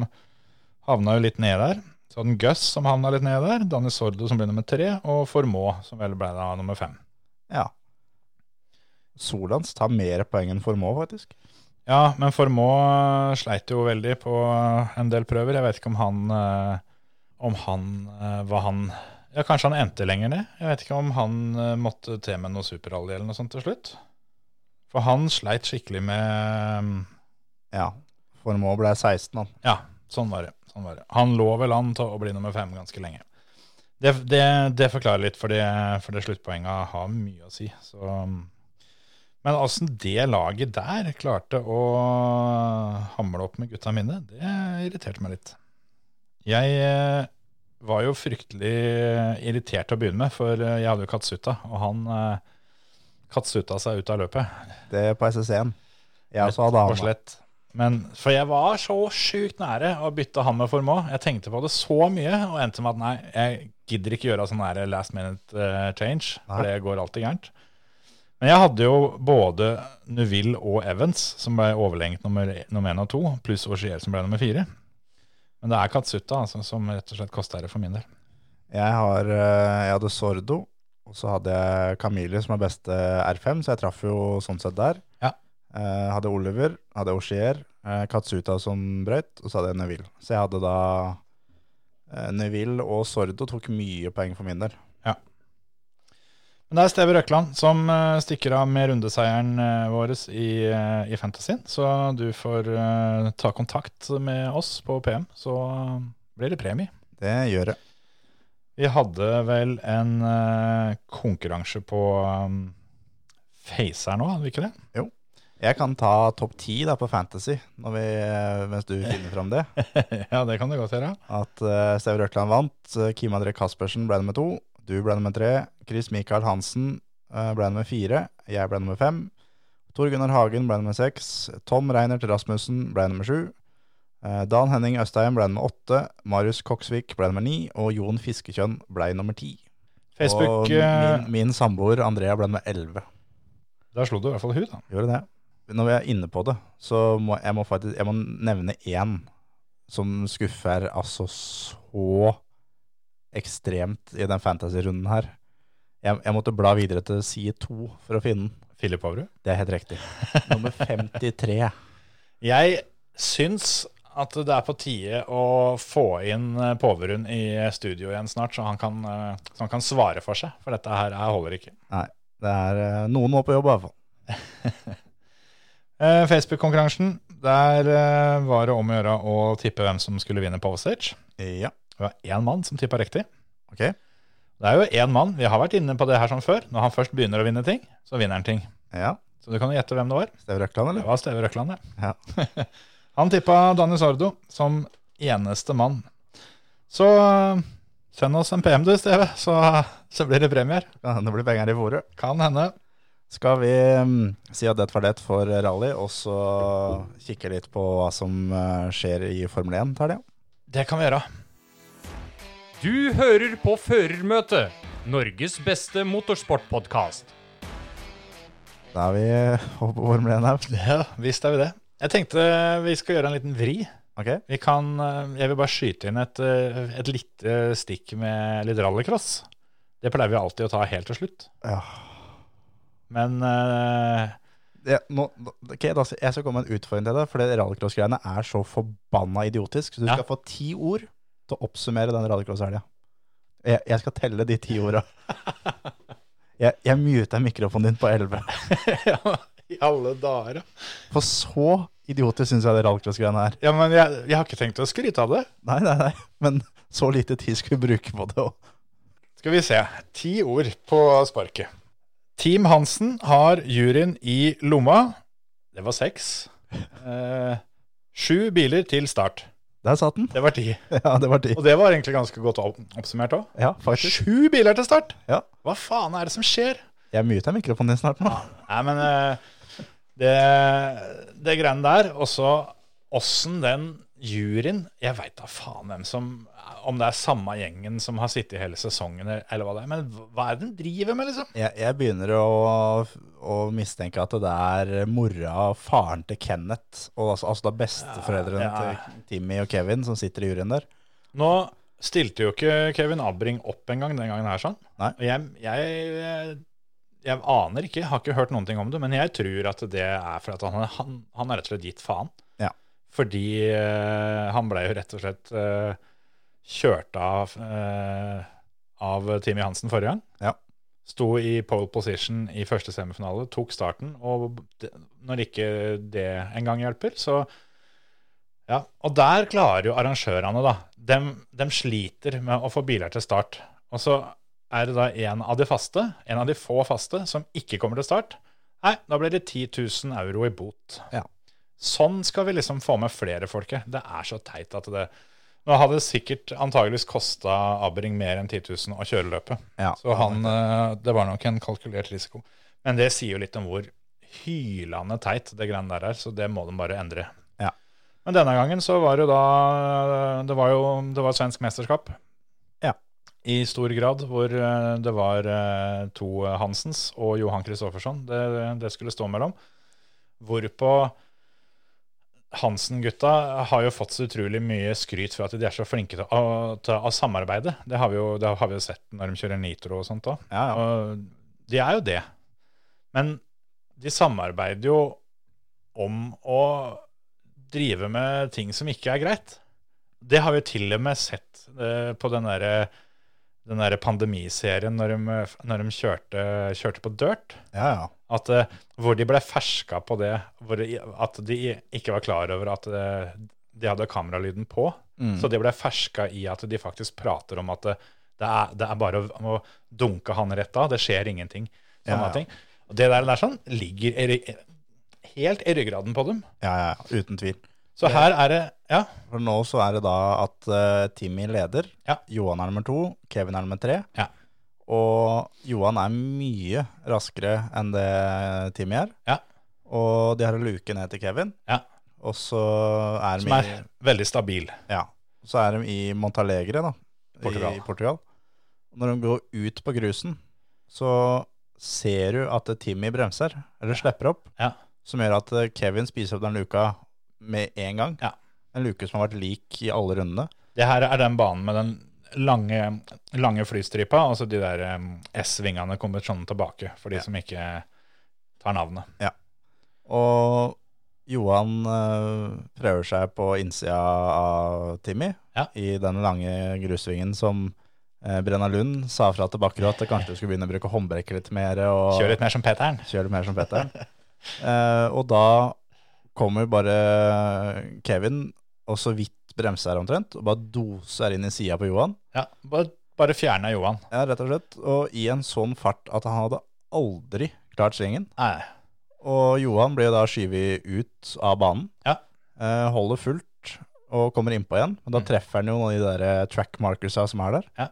[SPEAKER 1] havna jo litt ned der. Så hadde han Gus som havna litt ned der, Danny Sordo som ble nummer tre, og Formå som vel ble da nummer fem.
[SPEAKER 4] Ja. Solans tar mer poeng enn Formå, faktisk.
[SPEAKER 1] Ja, men Formå eh, sleit jo veldig på eh, en del prøver. Jeg vet ikke om han, eh, om han eh, hva han Ja, Kanskje han endte lenger ned. Jeg vet ikke om han eh, måtte til med noe superrally eller noe sånt til slutt. For han sleit skikkelig med mm,
[SPEAKER 4] Ja. Formoe ble 16, han.
[SPEAKER 1] Ja, sånn var det. Sånn var det. Han lå vel an til å bli nummer fem ganske lenge. Det, det, det forklarer litt, for det, for det sluttpoenget har mye å si. Så. Men åssen det laget der klarte å hamle opp med gutta mine, det irriterte meg litt. Jeg eh, var jo fryktelig irritert til å begynne med, for eh, jeg hadde jo Katsuta, og han eh, Katsuta seg ut av løpet.
[SPEAKER 4] Det er på SSC-en. Jeg også hadde
[SPEAKER 1] Rett og
[SPEAKER 4] han. da.
[SPEAKER 1] slett. Men, for jeg var så sjukt nære å bytte han med Formoe. Jeg tenkte på det så mye og endte med at nei, jeg gidder ikke gjøre sånn her last minute eh, change, for
[SPEAKER 4] Nei.
[SPEAKER 1] det går alltid gærent. Men jeg hadde jo både Nuville og Evans, som ble overlengt nummer e, nummer én og to, pluss Augier, som ble nummer fire. Men det er Katsuta altså, som rett og slett kosta det for min del.
[SPEAKER 4] Jeg, har, eh, jeg hadde Sordo, og så hadde jeg Camille, som er beste R5, så jeg traff jo sånn sett der.
[SPEAKER 1] Ja.
[SPEAKER 4] Eh, hadde Oliver, hadde Oshier, eh, Katsuta som brøyt, og så hadde jeg Neville. Så jeg hadde da eh, Neville og Sordo tok mye poeng for min del.
[SPEAKER 1] Men det er Steve Røkland som eh, stikker av med rundeseieren eh, vår i, eh, i Fantasyen. Så du får eh, ta kontakt med oss på PM, så blir det premie.
[SPEAKER 4] Det gjør jeg.
[SPEAKER 1] Vi hadde vel en eh, konkurranse på um, Facer nå, hadde vi ikke det?
[SPEAKER 4] Jeg kan ta topp ti da på Fantasy når vi, eh, mens du finner fram det.
[SPEAKER 1] ja, det [LAUGHS] kan du godt gjøre.
[SPEAKER 4] At uh, Steve Røkland vant. eh, Kim André Kaspersen ble nummer to. Du ble nummer tre. Chris Michael Hansen eh, ble nummer fire. Jeg ble nummer fem. Tor Gunnar Hagen ble nummer seks. Tom Reinert Rasmussen ble nummer sju. Eh, Dan Henning Østheim ble nummer åtte. Marius Koksvik ble nummer ni. Og Jon Fiskekjønn ble nummer ti.
[SPEAKER 1] Facebook,
[SPEAKER 4] og
[SPEAKER 1] eh,
[SPEAKER 4] min, min samboer Andrea ble nummer elleve.
[SPEAKER 1] der slo du i hvert fall hun, da.
[SPEAKER 4] Gjorde det. Når vi er inne på det, så må jeg må faktisk jeg må nevne én som skuffer altså så ekstremt i den fantasy-runden her. Jeg, jeg måtte bla videre til side to for å finne den.
[SPEAKER 1] Filip Averud.
[SPEAKER 4] Det er helt riktig. Nummer 53.
[SPEAKER 1] Jeg syns at det er på tide å få inn eh, Påverund i studio igjen snart, så han kan, eh, så han kan svare for seg. For dette her, her holder ikke.
[SPEAKER 4] Nei, det er eh, noen må på jobb i hvert fall.
[SPEAKER 1] Eh, Facebook-konkurransen, der eh, var det om å gjøre å tippe hvem som skulle vinne på Ostage.
[SPEAKER 4] Ja,
[SPEAKER 1] Det var én mann som tippa riktig.
[SPEAKER 4] ok.
[SPEAKER 1] Det er jo én mann, vi har vært inne på det her som før. Når han først begynner å vinne ting, så vinner han ting.
[SPEAKER 4] Ja,
[SPEAKER 1] Så du kan jo gjette hvem det var.
[SPEAKER 4] Steve Røkland,
[SPEAKER 1] Det
[SPEAKER 4] eller?
[SPEAKER 1] var Steve Røkland, det.
[SPEAKER 4] Ja.
[SPEAKER 1] Han tippa Danny Sordo som eneste mann. Så eh, send oss en PM, du, Steve, så, [LAUGHS] så blir det premier.
[SPEAKER 4] Kan Det blir penger i fòret.
[SPEAKER 1] Kan hende.
[SPEAKER 4] Skal vi mm, si at det var det for rally, og så kikke litt på hva som eh, skjer i Formel 1, tar det?
[SPEAKER 1] Det kan vi gjøre.
[SPEAKER 5] Du hører på Førermøtet, Norges beste motorsportpodkast.
[SPEAKER 4] Da er vi [LAUGHS] oppe på Formel 1 her.
[SPEAKER 1] Ja, visst er vi det. Jeg tenkte vi skal gjøre en liten vri.
[SPEAKER 4] Ok,
[SPEAKER 1] Vi kan, eh, jeg vil bare skyte inn et, eh, et lite stikk med litt rallycross. Det pleier vi alltid å ta helt til slutt.
[SPEAKER 4] Ja.
[SPEAKER 1] Men eh, [LAUGHS]
[SPEAKER 4] det, nå, ok, da, skal- jeg skal komme med en utfordring til deg, for det rallycross-greiene er så forbanna idiotisk. Så du
[SPEAKER 1] Ja.
[SPEAKER 4] skal få ti ord til å oppsummere den rallycross-helga. Jeg, jeg skal telle de ti orda. Jeg, jeg muter mikrofonen din på elleve.
[SPEAKER 1] I alle dager, ja.
[SPEAKER 4] For så idiotisk syns jeg det rallycross-greiene er.
[SPEAKER 1] ja men jeg, jeg har ikke tenkt å skryte av det.
[SPEAKER 4] Nei, nei, nei. Men så lite tid skal vi bruke på det. og-
[SPEAKER 1] Skal vi se. Ti ord på sparket. Team Hansen har juryen i lomma. Det var seks. Eh, sju biler til start.
[SPEAKER 4] Der satt den.
[SPEAKER 1] Det var ti.
[SPEAKER 4] [LAUGHS] Ja, det var ti.
[SPEAKER 1] Og det var egentlig ganske godt opp- oppsummert òg.
[SPEAKER 4] Ja, faktisk.
[SPEAKER 1] Sju biler til start!
[SPEAKER 4] Ja.
[SPEAKER 1] Hva faen er det som skjer?
[SPEAKER 4] Jeg muter mikrofonen din snart nå.
[SPEAKER 1] Nei, men eh, det, det greiene der, og så åssen den juryen Jeg veit da faen hvem som Om det er samme gjengen som har sittet hele sesongen, eller hva det er. Men hva- hva er det den driver med, liksom?
[SPEAKER 4] Jeg, jeg begynner å, å mistenke at det er mora og faren til Kenneth, og altså, altså da besteforeldrene
[SPEAKER 1] Ja, ja.
[SPEAKER 4] til Timmy og Kevin som sitter i juryen der.
[SPEAKER 1] Nå stilte jo ikke Kevin Abring opp engang den gangen her, sånn.
[SPEAKER 4] Nei.
[SPEAKER 1] Og jeg, jeg, jeg aner ikke, har ikke hørt noen ting om det, men jeg tror at det er fordi at han, han, han har rett og slett gitt faen.
[SPEAKER 4] Ja.
[SPEAKER 1] Fordi eh, han ble jo rett og slett eh, kjørt av, eh, av Team Johansen forrige gang.
[SPEAKER 4] Ja.
[SPEAKER 1] Sto i pole position i første semifinale, tok starten, og det, når ikke det engang hjelper, så Ja, og der klarer jo arrangørene, da. Dem, dem sliter med å få biler til start. Og så er det da en av de faste, en av de få faste, som ikke kommer til start. Nei, da blir det 10 000 euro i bot.
[SPEAKER 4] Ja.
[SPEAKER 1] Sånn skal vi liksom få med flere folket. Det er så teit at det Nå hadde det sikkert antageligvis kosta Abring mer enn 10 000 å kjøre løpet.
[SPEAKER 4] Ja.
[SPEAKER 1] Så han eh, Det var nok en kalkulert risiko. Men det sier jo litt om hvor hylende teit det greiene der er, så det må de bare endre.
[SPEAKER 4] Ja.
[SPEAKER 1] Men denne gangen så var det jo da Det var jo det var svensk mesterskap.
[SPEAKER 4] Ja.
[SPEAKER 1] I stor grad hvor eh, det var eh, to Hansens og Johan Kristoffersson det, det skulle stå mellom. Hvorpå Hansen-gutta har jo fått så utrolig mye skryt for at de er så flinke til å, til å samarbeide. Det har, vi jo, det har vi jo sett når de kjører Nitro og sånt òg.
[SPEAKER 4] Ja, ja.
[SPEAKER 1] Og de er jo det. Men de samarbeider jo om å drive med ting som ikke er greit. Det har vi til og med sett eh, på den derre den der pandemiserien når de, når de kjørte, kjørte på dirt.
[SPEAKER 4] ja, ja.
[SPEAKER 1] At, eh, hvor de ble ferska på det, hvor de, at de ikke var klar over at eh, de hadde kameralyden på. Så de ble ferska i at de faktisk prater om at det, det, er, det er bare å, å dunke han rett av, det skjer ingenting. Sånne
[SPEAKER 4] Ja, ja.
[SPEAKER 1] ting. Og det der, der sånn, ligger i, ry- helt i ryggraden på dem.
[SPEAKER 4] ja, ja, ja. Uten tvil.
[SPEAKER 1] Så her er det Ja,
[SPEAKER 4] For nå så er det da at eh, Timmy leder,
[SPEAKER 1] Ja.
[SPEAKER 4] Johan er nummer to, Kevin er nummer tre.
[SPEAKER 1] Ja.
[SPEAKER 4] Og Johan er mye raskere enn det Timmy er.
[SPEAKER 1] Ja.
[SPEAKER 4] Og de har en luke ned til Kevin.
[SPEAKER 1] Ja.
[SPEAKER 4] Og så er, de
[SPEAKER 1] som er
[SPEAKER 4] i,
[SPEAKER 1] veldig stabil.
[SPEAKER 4] ja, så er de i Montalegre, da.
[SPEAKER 1] Portugal.
[SPEAKER 4] I Portugal. Og når de går ut på grusen, så ser du at Timmy bremser, eller slipper opp.
[SPEAKER 1] Ja.
[SPEAKER 4] Som gjør at eh, Kevin spiser opp den luka med en gang.
[SPEAKER 1] Ja.
[SPEAKER 4] En luke som har vært lik i alle rundene.
[SPEAKER 1] Det her er den banen med den lange, lange flystripa, altså de der eh, S-vingene kommer sånn tilbake, for de som ikke tar navnet.
[SPEAKER 4] Og Johan eh, prøver seg på innsida av Timmy
[SPEAKER 1] Ja.
[SPEAKER 4] i den lange grusvingen som eh, Brenna Lund sa fra til Bakkerud at kanskje du skulle begynne å bruke håndbrekket litt mer. Og
[SPEAKER 1] Kjør litt mer som Peteren.
[SPEAKER 4] kjøre litt mer som Petter. [LAUGHS] Eh, og da kommer bare Kevin og så vidt bremser omtrent, og bare doser inn i sida på Johan.
[SPEAKER 1] Ja, bare, bare fjerna Johan.
[SPEAKER 4] Ja, rett og slett. Og i en sånn fart at han hadde aldri klart svingen.
[SPEAKER 1] Nei.
[SPEAKER 4] Og Johan blir da skyvet ut av banen.
[SPEAKER 1] Ja.
[SPEAKER 4] Eh, holder fullt og kommer innpå igjen. Men da
[SPEAKER 1] Mm.
[SPEAKER 4] treffer han jo noen av de der eh, track markersa som er der.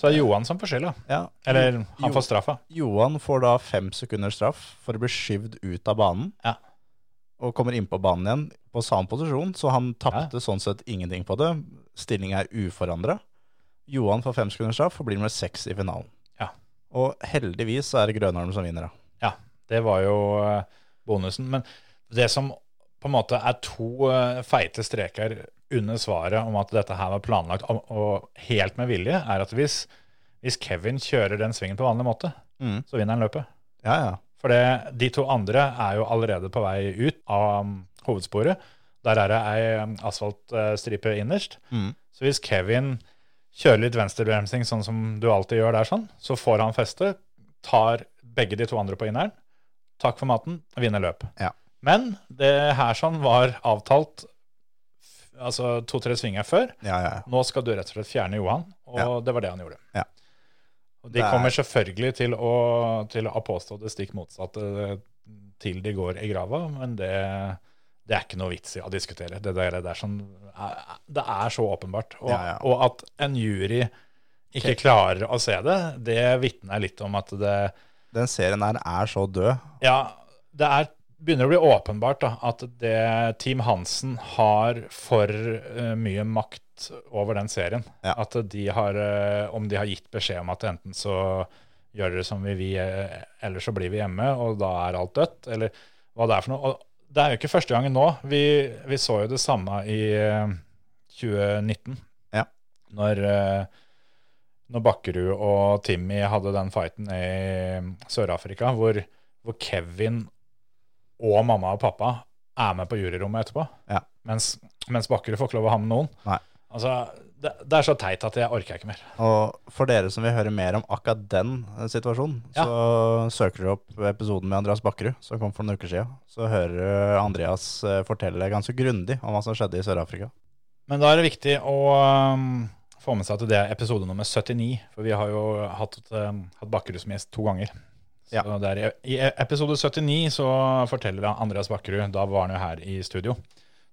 [SPEAKER 1] Så er det Johan som får skylda.
[SPEAKER 4] Ja.
[SPEAKER 1] Eller han
[SPEAKER 4] Jo-
[SPEAKER 1] får straffa.
[SPEAKER 4] Johan får da fem sekunder straff for å bli skyvd ut av banen.
[SPEAKER 1] Ja.
[SPEAKER 4] Og kommer innpå banen igjen på samme posisjon, så han tapte sånn sett ingenting på det. Stillinga er uforandra. Johan får fem sekunder straff og blir nummer seks i finalen.
[SPEAKER 1] Ja.
[SPEAKER 4] Og heldigvis så er det Grønholm som vinner, da.
[SPEAKER 1] Ja, det var jo eh, bonusen. Men det som på en måte er to eh, feite streker under svaret om at dette her var planlagt og- og helt med vilje, er at hvis, hvis Kevin kjører den svingen på vanlig måte,
[SPEAKER 4] Mm.
[SPEAKER 1] så vinner han løpet.
[SPEAKER 4] Ja, ja.
[SPEAKER 1] For det, de to andre er jo allerede på vei ut av um, hovedsporet. Der er det ei um, asfaltstripe innerst.
[SPEAKER 4] Mm.
[SPEAKER 1] Så hvis Kevin kjører litt venstrebremsing, sånn som du alltid gjør der, sånn, så får han feste, tar begge de to andre på inneren, takk for maten, og vinner løp.
[SPEAKER 4] Ja.
[SPEAKER 1] Men det her sånn var avtalt f- altså to-tre svinger før.
[SPEAKER 4] ja, ja.
[SPEAKER 1] Nå skal du rett og slett fjerne Johan, og
[SPEAKER 4] Ja.
[SPEAKER 1] det var det han gjorde.
[SPEAKER 4] Ja.
[SPEAKER 1] Og
[SPEAKER 4] Det
[SPEAKER 1] de
[SPEAKER 4] er-
[SPEAKER 1] kommer selvfølgelig til å, til å påstå det stikk motsatte eh, til de går i grava, men det, det er ikke noe vits i å diskutere. Det, der, det, er, sånn, det er så åpenbart. Og,
[SPEAKER 4] Ja, ja.
[SPEAKER 1] og at en jury ikke klarer å se det, det vitner litt om at det
[SPEAKER 4] Den serien her er så død.
[SPEAKER 1] ja, det er, begynner å bli åpenbart da, at det Team Hansen har for eh, mye makt over den serien.
[SPEAKER 4] Ja.
[SPEAKER 1] At de har, eh, om de har gitt beskjed om at enten så gjør dere som vi vil, eh, eller så blir vi hjemme, og da er alt dødt, eller hva det er for noe. Og det er jo ikke første gangen nå. Vi, vi så jo det samme i eh, 2019,
[SPEAKER 4] Ja.
[SPEAKER 1] når, eh, når Bakkerud og Timmy hadde den fighten i eh, Sør-Afrika, hvor hvor Kevin og mamma og pappa er med på juryrommet etterpå.
[SPEAKER 4] Ja.
[SPEAKER 1] Mens, mens Bakkerud får ikke lov å ha med noen.
[SPEAKER 4] Nei.
[SPEAKER 1] Altså, det, det er så teit at jeg orker ikke mer.
[SPEAKER 4] Og for dere som vil høre mer om akkurat den eh, situasjonen,
[SPEAKER 1] Ja.
[SPEAKER 4] så søker dere opp episoden med Andreas Bakkerud, som kom for noen uker siden. Så hører du Andreas eh, fortelle ganske grundig om hva som skjedde i Sør-Afrika.
[SPEAKER 1] Men da er det viktig å um, få med seg at det er episode nummer 79, for vi har jo hatt, um, hatt Bakkerud som gjest to ganger. Så
[SPEAKER 4] Ja.
[SPEAKER 1] det er i, I episode 79 så forteller han Andreas Bakkerud, da var han jo her i studio,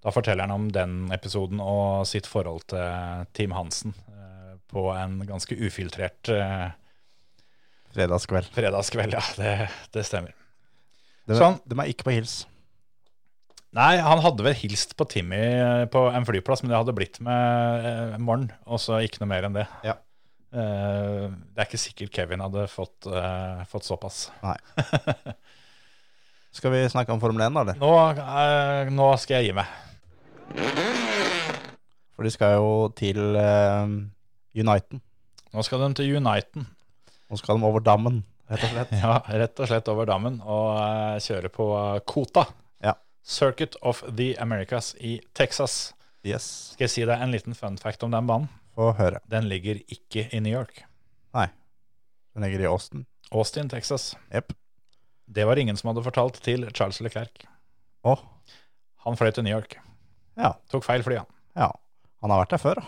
[SPEAKER 1] da forteller han om den episoden og sitt forhold til Team Hansen eh, på en ganske ufiltrert eh,
[SPEAKER 4] Fredagskveld.
[SPEAKER 1] fredagskveld. Ja, det, det stemmer.
[SPEAKER 4] De,
[SPEAKER 1] Sånn.
[SPEAKER 4] de er ikke på hils.
[SPEAKER 1] Nei, han hadde vel hilst på Timmy eh, på en flyplass, men det hadde blitt med eh, morgen, og så ikke noe mer enn det.
[SPEAKER 4] Ja.
[SPEAKER 1] Eh, det er ikke sikkert Kevin hadde fått, eh, fått såpass.
[SPEAKER 4] Skal vi snakke om Formel 1, da? eller?
[SPEAKER 1] Nå, eh, nå skal jeg gi meg.
[SPEAKER 4] For de skal jo til uh, Uniten.
[SPEAKER 1] Nå skal de til Uniten.
[SPEAKER 4] Nå skal de over dammen, rett og slett.
[SPEAKER 1] [LAUGHS] Ja, rett og slett over dammen og eh, kjøre på Kota.
[SPEAKER 4] Ja.
[SPEAKER 1] Circuit of the Americas i Texas.
[SPEAKER 4] Yes.
[SPEAKER 1] Skal jeg si deg en liten fun fact om den banen?
[SPEAKER 4] Få høre.
[SPEAKER 1] Den ligger ikke i New York.
[SPEAKER 4] Den ligger i Austin.
[SPEAKER 1] Austin, Texas.
[SPEAKER 4] Jepp.
[SPEAKER 1] Det var ingen som hadde fortalt til Charles Leclerc.
[SPEAKER 4] Å,
[SPEAKER 1] Han fløy til New York.
[SPEAKER 4] ja.
[SPEAKER 1] Tok feil fly, han.
[SPEAKER 4] Ja. Han har vært der før, da.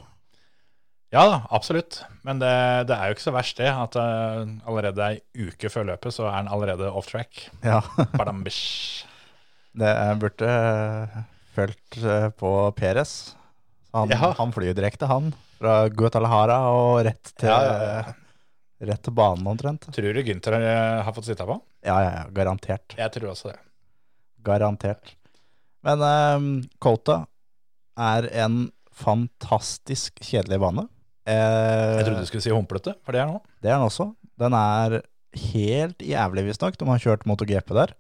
[SPEAKER 1] Ja da, absolutt. Men det, det er jo ikke så verst det, at eh, allerede ei uke før løpet så er han allerede off track.
[SPEAKER 4] Ja.
[SPEAKER 1] Badambish.
[SPEAKER 4] Det jeg burde eh, følt eh, på Peres. Han,
[SPEAKER 1] Ja.
[SPEAKER 4] han flyr jo direkte, han. Fra Guatalajara og rett
[SPEAKER 1] [LAUGHS]
[SPEAKER 4] til,
[SPEAKER 1] Ja,
[SPEAKER 4] eh,
[SPEAKER 1] ja, ja.
[SPEAKER 4] Rett til banen, omtrent.
[SPEAKER 1] Eh, Tror du Gynter eh, har fått sitte på?
[SPEAKER 4] Ja, ja, ja. Garantert.
[SPEAKER 1] Jeg tror også det.
[SPEAKER 4] Garantert. Men eh, Colta er en fantastisk kjedelig bane. Eh,
[SPEAKER 1] Jeg trodde du skulle si humplete, for det er nå.
[SPEAKER 4] Det er den også. Den er helt jævlig, visstnok. De har kjørt MotoGP der.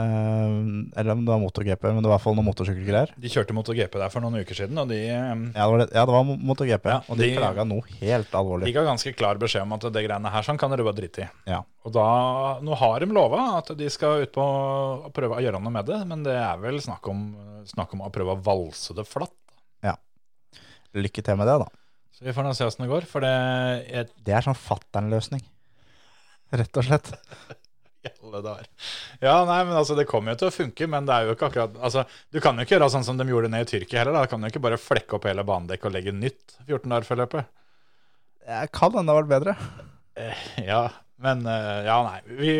[SPEAKER 4] Eh, eller om det var MotoGP, men det var i hvert fall noen motorsykkelgreier.
[SPEAKER 1] De kjørte MotoGP der for noen uker siden, og de, eh,
[SPEAKER 4] Ja, det var, det, ja, det var MotoGP,
[SPEAKER 1] Ja,
[SPEAKER 4] og de,
[SPEAKER 1] de-
[SPEAKER 4] klaga noe helt
[SPEAKER 1] de
[SPEAKER 4] alvorlig.
[SPEAKER 1] ga ganske klar beskjed om at det greiene her sånn kan dere bare drite i.
[SPEAKER 4] Ja.
[SPEAKER 1] Og da, nå har de lova at de skal ut på å prøve å gjøre noe med det, men det er vel snakk om, snakk om å prøve å valse det flatt.
[SPEAKER 4] Lykke til med det, da.
[SPEAKER 1] Så vi får nå se åssen det går, for det jeg,
[SPEAKER 4] Det er sånn fattern-løsning, rett og slett.
[SPEAKER 1] alle dager. Ja, nei, men altså, det kommer jo til å funke, men det er jo ikke akkurat altså, Du kan jo ikke gjøre sånn som de gjorde ned i Tyrkia heller. da. Du kan jo ikke bare flekke opp hele banedekket og legge nytt 14 dager før løpet.
[SPEAKER 4] Jeg kan hende det har vært bedre.
[SPEAKER 1] [LAUGHS] Ja, men eh, Ja, nei. Vi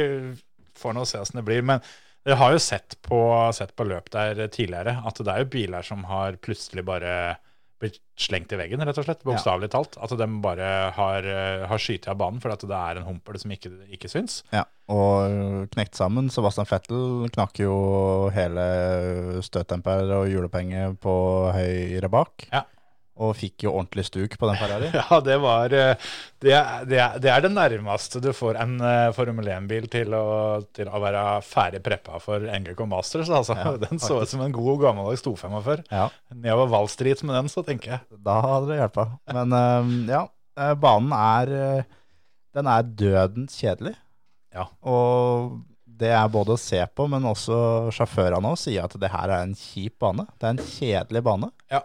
[SPEAKER 1] får nå se åssen det blir. Men jeg har jo sett på, sett på løp der tidligere at det er jo biler som har plutselig bare blitt slengt i veggen, rett og slett. Bokstavelig talt. At de bare har, eh, har skytet av banen fordi at det er en humpel som ikke, ikke syns.
[SPEAKER 4] Ja, og knekt sammen. Sebastian Fettel knakk jo hele støttemper og hjulopphenget på høyre bak.
[SPEAKER 1] Ja.
[SPEAKER 4] Og fikk jo ordentlig stuk på den Ferrari.
[SPEAKER 1] [LAUGHS] Ja, det var eh, Det, er- det, er- det er det nærmeste du får en eh, Formel 1-bil til, å- til å være ferdig preppa for NGK Masters. Altså.
[SPEAKER 4] Ja,
[SPEAKER 1] [LAUGHS] den så ut som en god gammeldags 245.
[SPEAKER 4] Ja,
[SPEAKER 1] Nedover Wall Street med den, så tenker jeg.
[SPEAKER 4] da hadde det hjelpa. Men eh, ja, eh, banen er eh, Den er dødens kjedelig.
[SPEAKER 1] Ja.
[SPEAKER 4] Og det er både å se på, men også sjåførene også sier at det her er en kjip bane. Det er en kjedelig bane.
[SPEAKER 1] Ja.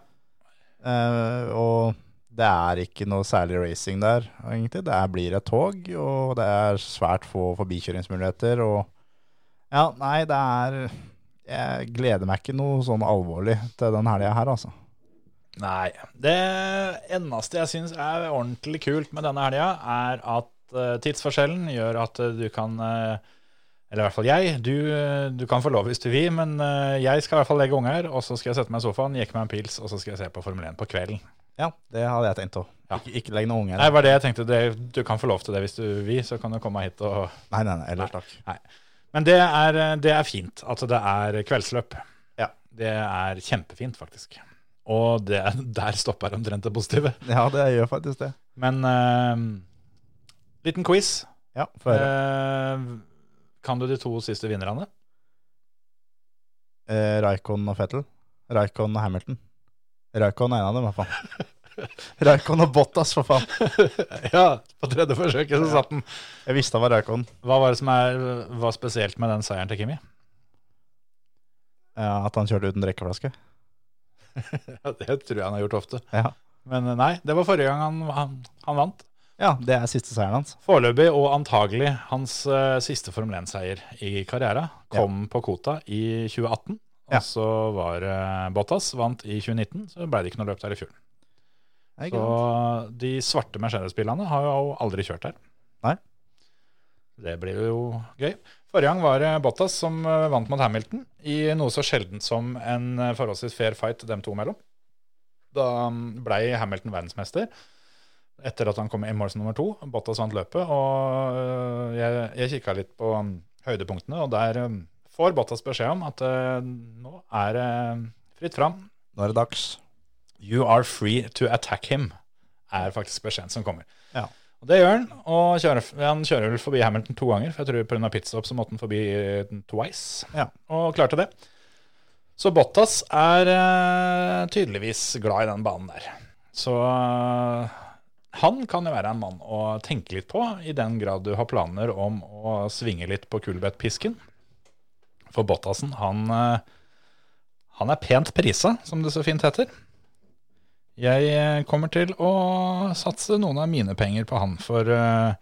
[SPEAKER 4] Eh, og det er ikke noe særlig racing der, egentlig. Det er, blir et tog, og det er svært få forbikjøringsmuligheter. Og ja, nei, det er Jeg gleder meg ikke noe sånn alvorlig til den helga her, altså.
[SPEAKER 1] Nei. Det eneste jeg syns er ordentlig kult med denne helga, er at eh, tidsforskjellen gjør at eh, du kan eh, eller i hvert fall jeg. Du, eh, du kan få lov hvis du vil, men eh, jeg skal i hvert fall legge unger, og så skal jeg sette meg i sofaen, jekke meg en pils, og så skal jeg se på Formel 1 på kvelden.
[SPEAKER 4] Ja, det hadde jeg tenkt òg. Ikke, ikke legg noen unger.
[SPEAKER 1] Nei, var det jeg tenkte. Det, du kan få lov til det hvis du vil, så kan du komme hit og
[SPEAKER 4] Nei, nei, nei, ellers takk.
[SPEAKER 1] Nei. Men det er, eh, det er fint at det er kveldsløp.
[SPEAKER 4] Ja.
[SPEAKER 1] Det er kjempefint, faktisk. Og det, [LAUGHS] der stopper omtrent det positive.
[SPEAKER 4] Ja, det gjør faktisk det.
[SPEAKER 1] Men eh, liten quiz.
[SPEAKER 4] Ja, få høre.
[SPEAKER 1] Eh, kan du de to siste vinnerne?
[SPEAKER 4] Eh, Raikon og Fettel. Raikon og Hamilton. Raikon er en av dem, i hvert fall. [LAUGHS] Raikon og Bottas, for faen.
[SPEAKER 1] [LAUGHS] ja, på tredje forsøket så satt den.
[SPEAKER 4] Jeg visste det var Raikon.
[SPEAKER 1] Hva var det som er, var spesielt med den seieren til Kimi?
[SPEAKER 4] Ja, at han kjørte uten drikkeflaske.
[SPEAKER 1] det tror jeg han har gjort ofte.
[SPEAKER 4] Ja.
[SPEAKER 1] Men eh, nei, det var forrige gang han, han, han vant.
[SPEAKER 4] ja, det er siste seieren hans.
[SPEAKER 1] Foreløpig og antagelig hans eh, siste Formel 1-seier i karriera kom på kvota i 2018.
[SPEAKER 4] Ja.
[SPEAKER 1] Og så var eh, Bottas vant i 2019, så ble det ikke noe løp der i fjor.
[SPEAKER 4] Det er ikke
[SPEAKER 1] Så
[SPEAKER 4] sant.
[SPEAKER 1] de svarte Mercedes-bilene har jo aldri kjørt her.
[SPEAKER 4] Nei.
[SPEAKER 1] Det blir jo gøy. Forrige gang var det Bottas som eh, vant mot Hamilton i noe så sjeldent som en eh, forholdsvis fair fight dem to imellom. Da mm, ble Hamilton verdensmester etter at han kom i målsen nummer to. Bottas vant løpet, og eh, jeg, jeg kikka litt på mm, høydepunktene, og der mm, får Bottas beskjed om at eh, nå er det fritt fram.
[SPEAKER 4] Nå er det dags.
[SPEAKER 1] You are free to attack him, er faktisk beskjeden som kommer.
[SPEAKER 4] Ja.
[SPEAKER 1] Og det gjør han, og kjører, han kjører vel forbi Hamilton to ganger, for jeg tror pga. pitstop så måtte han forbi eh, twice,
[SPEAKER 4] Ja.
[SPEAKER 1] og klarte det. Så Bottas er eh, tydeligvis glad i den banen der. Så eh, han kan jo være en mann å tenke litt på, i den grad du har planer om å svinge litt på kulbettpisken. For Bottasen, han, eh, han er pent prisa, som det så fint heter. Jeg eh, kommer til å satse noen av mine penger på han, for eh,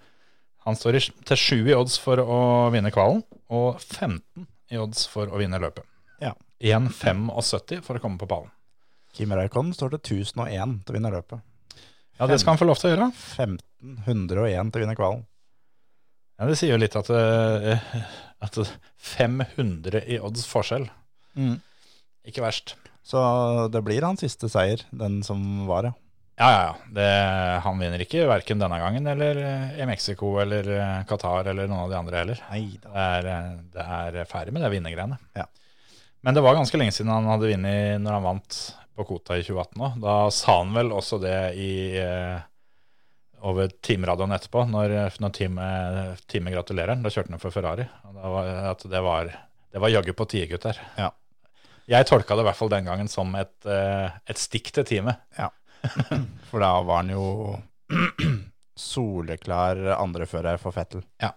[SPEAKER 1] han står i, sj- til sju i odds for å vinne kvalen, og 15 i odds for å vinne løpet.
[SPEAKER 4] Ja.
[SPEAKER 1] 1,75 for å komme på pallen.
[SPEAKER 4] Kim Raikon står til 1001 til å vinne løpet.
[SPEAKER 1] Ja, det skal han få lov til å gjøre.
[SPEAKER 4] 1501 til å vinne kvalen.
[SPEAKER 1] Ja, Det sier jo litt at, eh, at 500 i odds forskjell.
[SPEAKER 4] Mm.
[SPEAKER 1] Ikke verst.
[SPEAKER 4] Så det blir hans siste seier, den som var, ja.
[SPEAKER 1] Ja, ja, ja. Det, han vinner ikke verken denne gangen eller eh, i Mexico eller eh, Qatar eller noen av de andre heller.
[SPEAKER 4] Nei da.
[SPEAKER 1] Det er, eh, det er ferdig med det vinnergreiene.
[SPEAKER 4] Ja.
[SPEAKER 1] Men det var ganske lenge siden han hadde vunnet når han vant på kvota i 2018 òg. Da sa han vel også det i eh, over teamradioen etterpå, når, når teamet, teamet gratulerer. Da kjørte han for Ferrari. Og da var, at det var, det var jaggu på tide, gutter.
[SPEAKER 4] Ja.
[SPEAKER 1] Jeg tolka det i hvert fall den gangen som et, eh, et stikk til teamet.
[SPEAKER 4] For da var han jo [CLEARS THROAT] soleklar andrefører for Fettel.
[SPEAKER 1] Ja.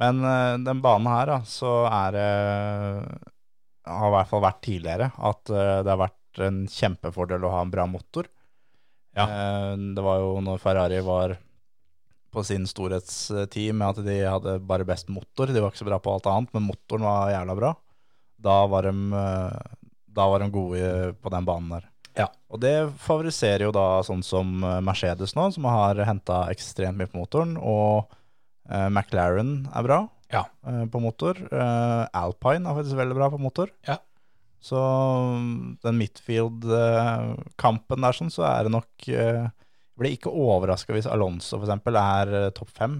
[SPEAKER 4] Men eh, den banen her, da, så er det Har i hvert fall vært tidligere at eh, det har vært en kjempefordel å ha en bra motor.
[SPEAKER 1] Ja.
[SPEAKER 4] Eh, Det var jo når Ferrari var på sin storhetstid med at de hadde bare best motor. De var ikke så bra på alt annet, men motoren var jævla bra. Da var de, eh, da var de gode på den banen der. Og det favoriserer jo da sånn som eh, Mercedes nå, som har henta ekstremt mye på motoren. Og eh, McLaren er bra
[SPEAKER 1] Ja.
[SPEAKER 4] eh, på motor. Eh, Alpine er faktisk veldig bra på motor.
[SPEAKER 1] Ja.
[SPEAKER 4] Så mm, den midfield-kampen der sånn, så er det nok eh, Jeg blir ikke overraska hvis Alonso for eksempel er eh, topp fem.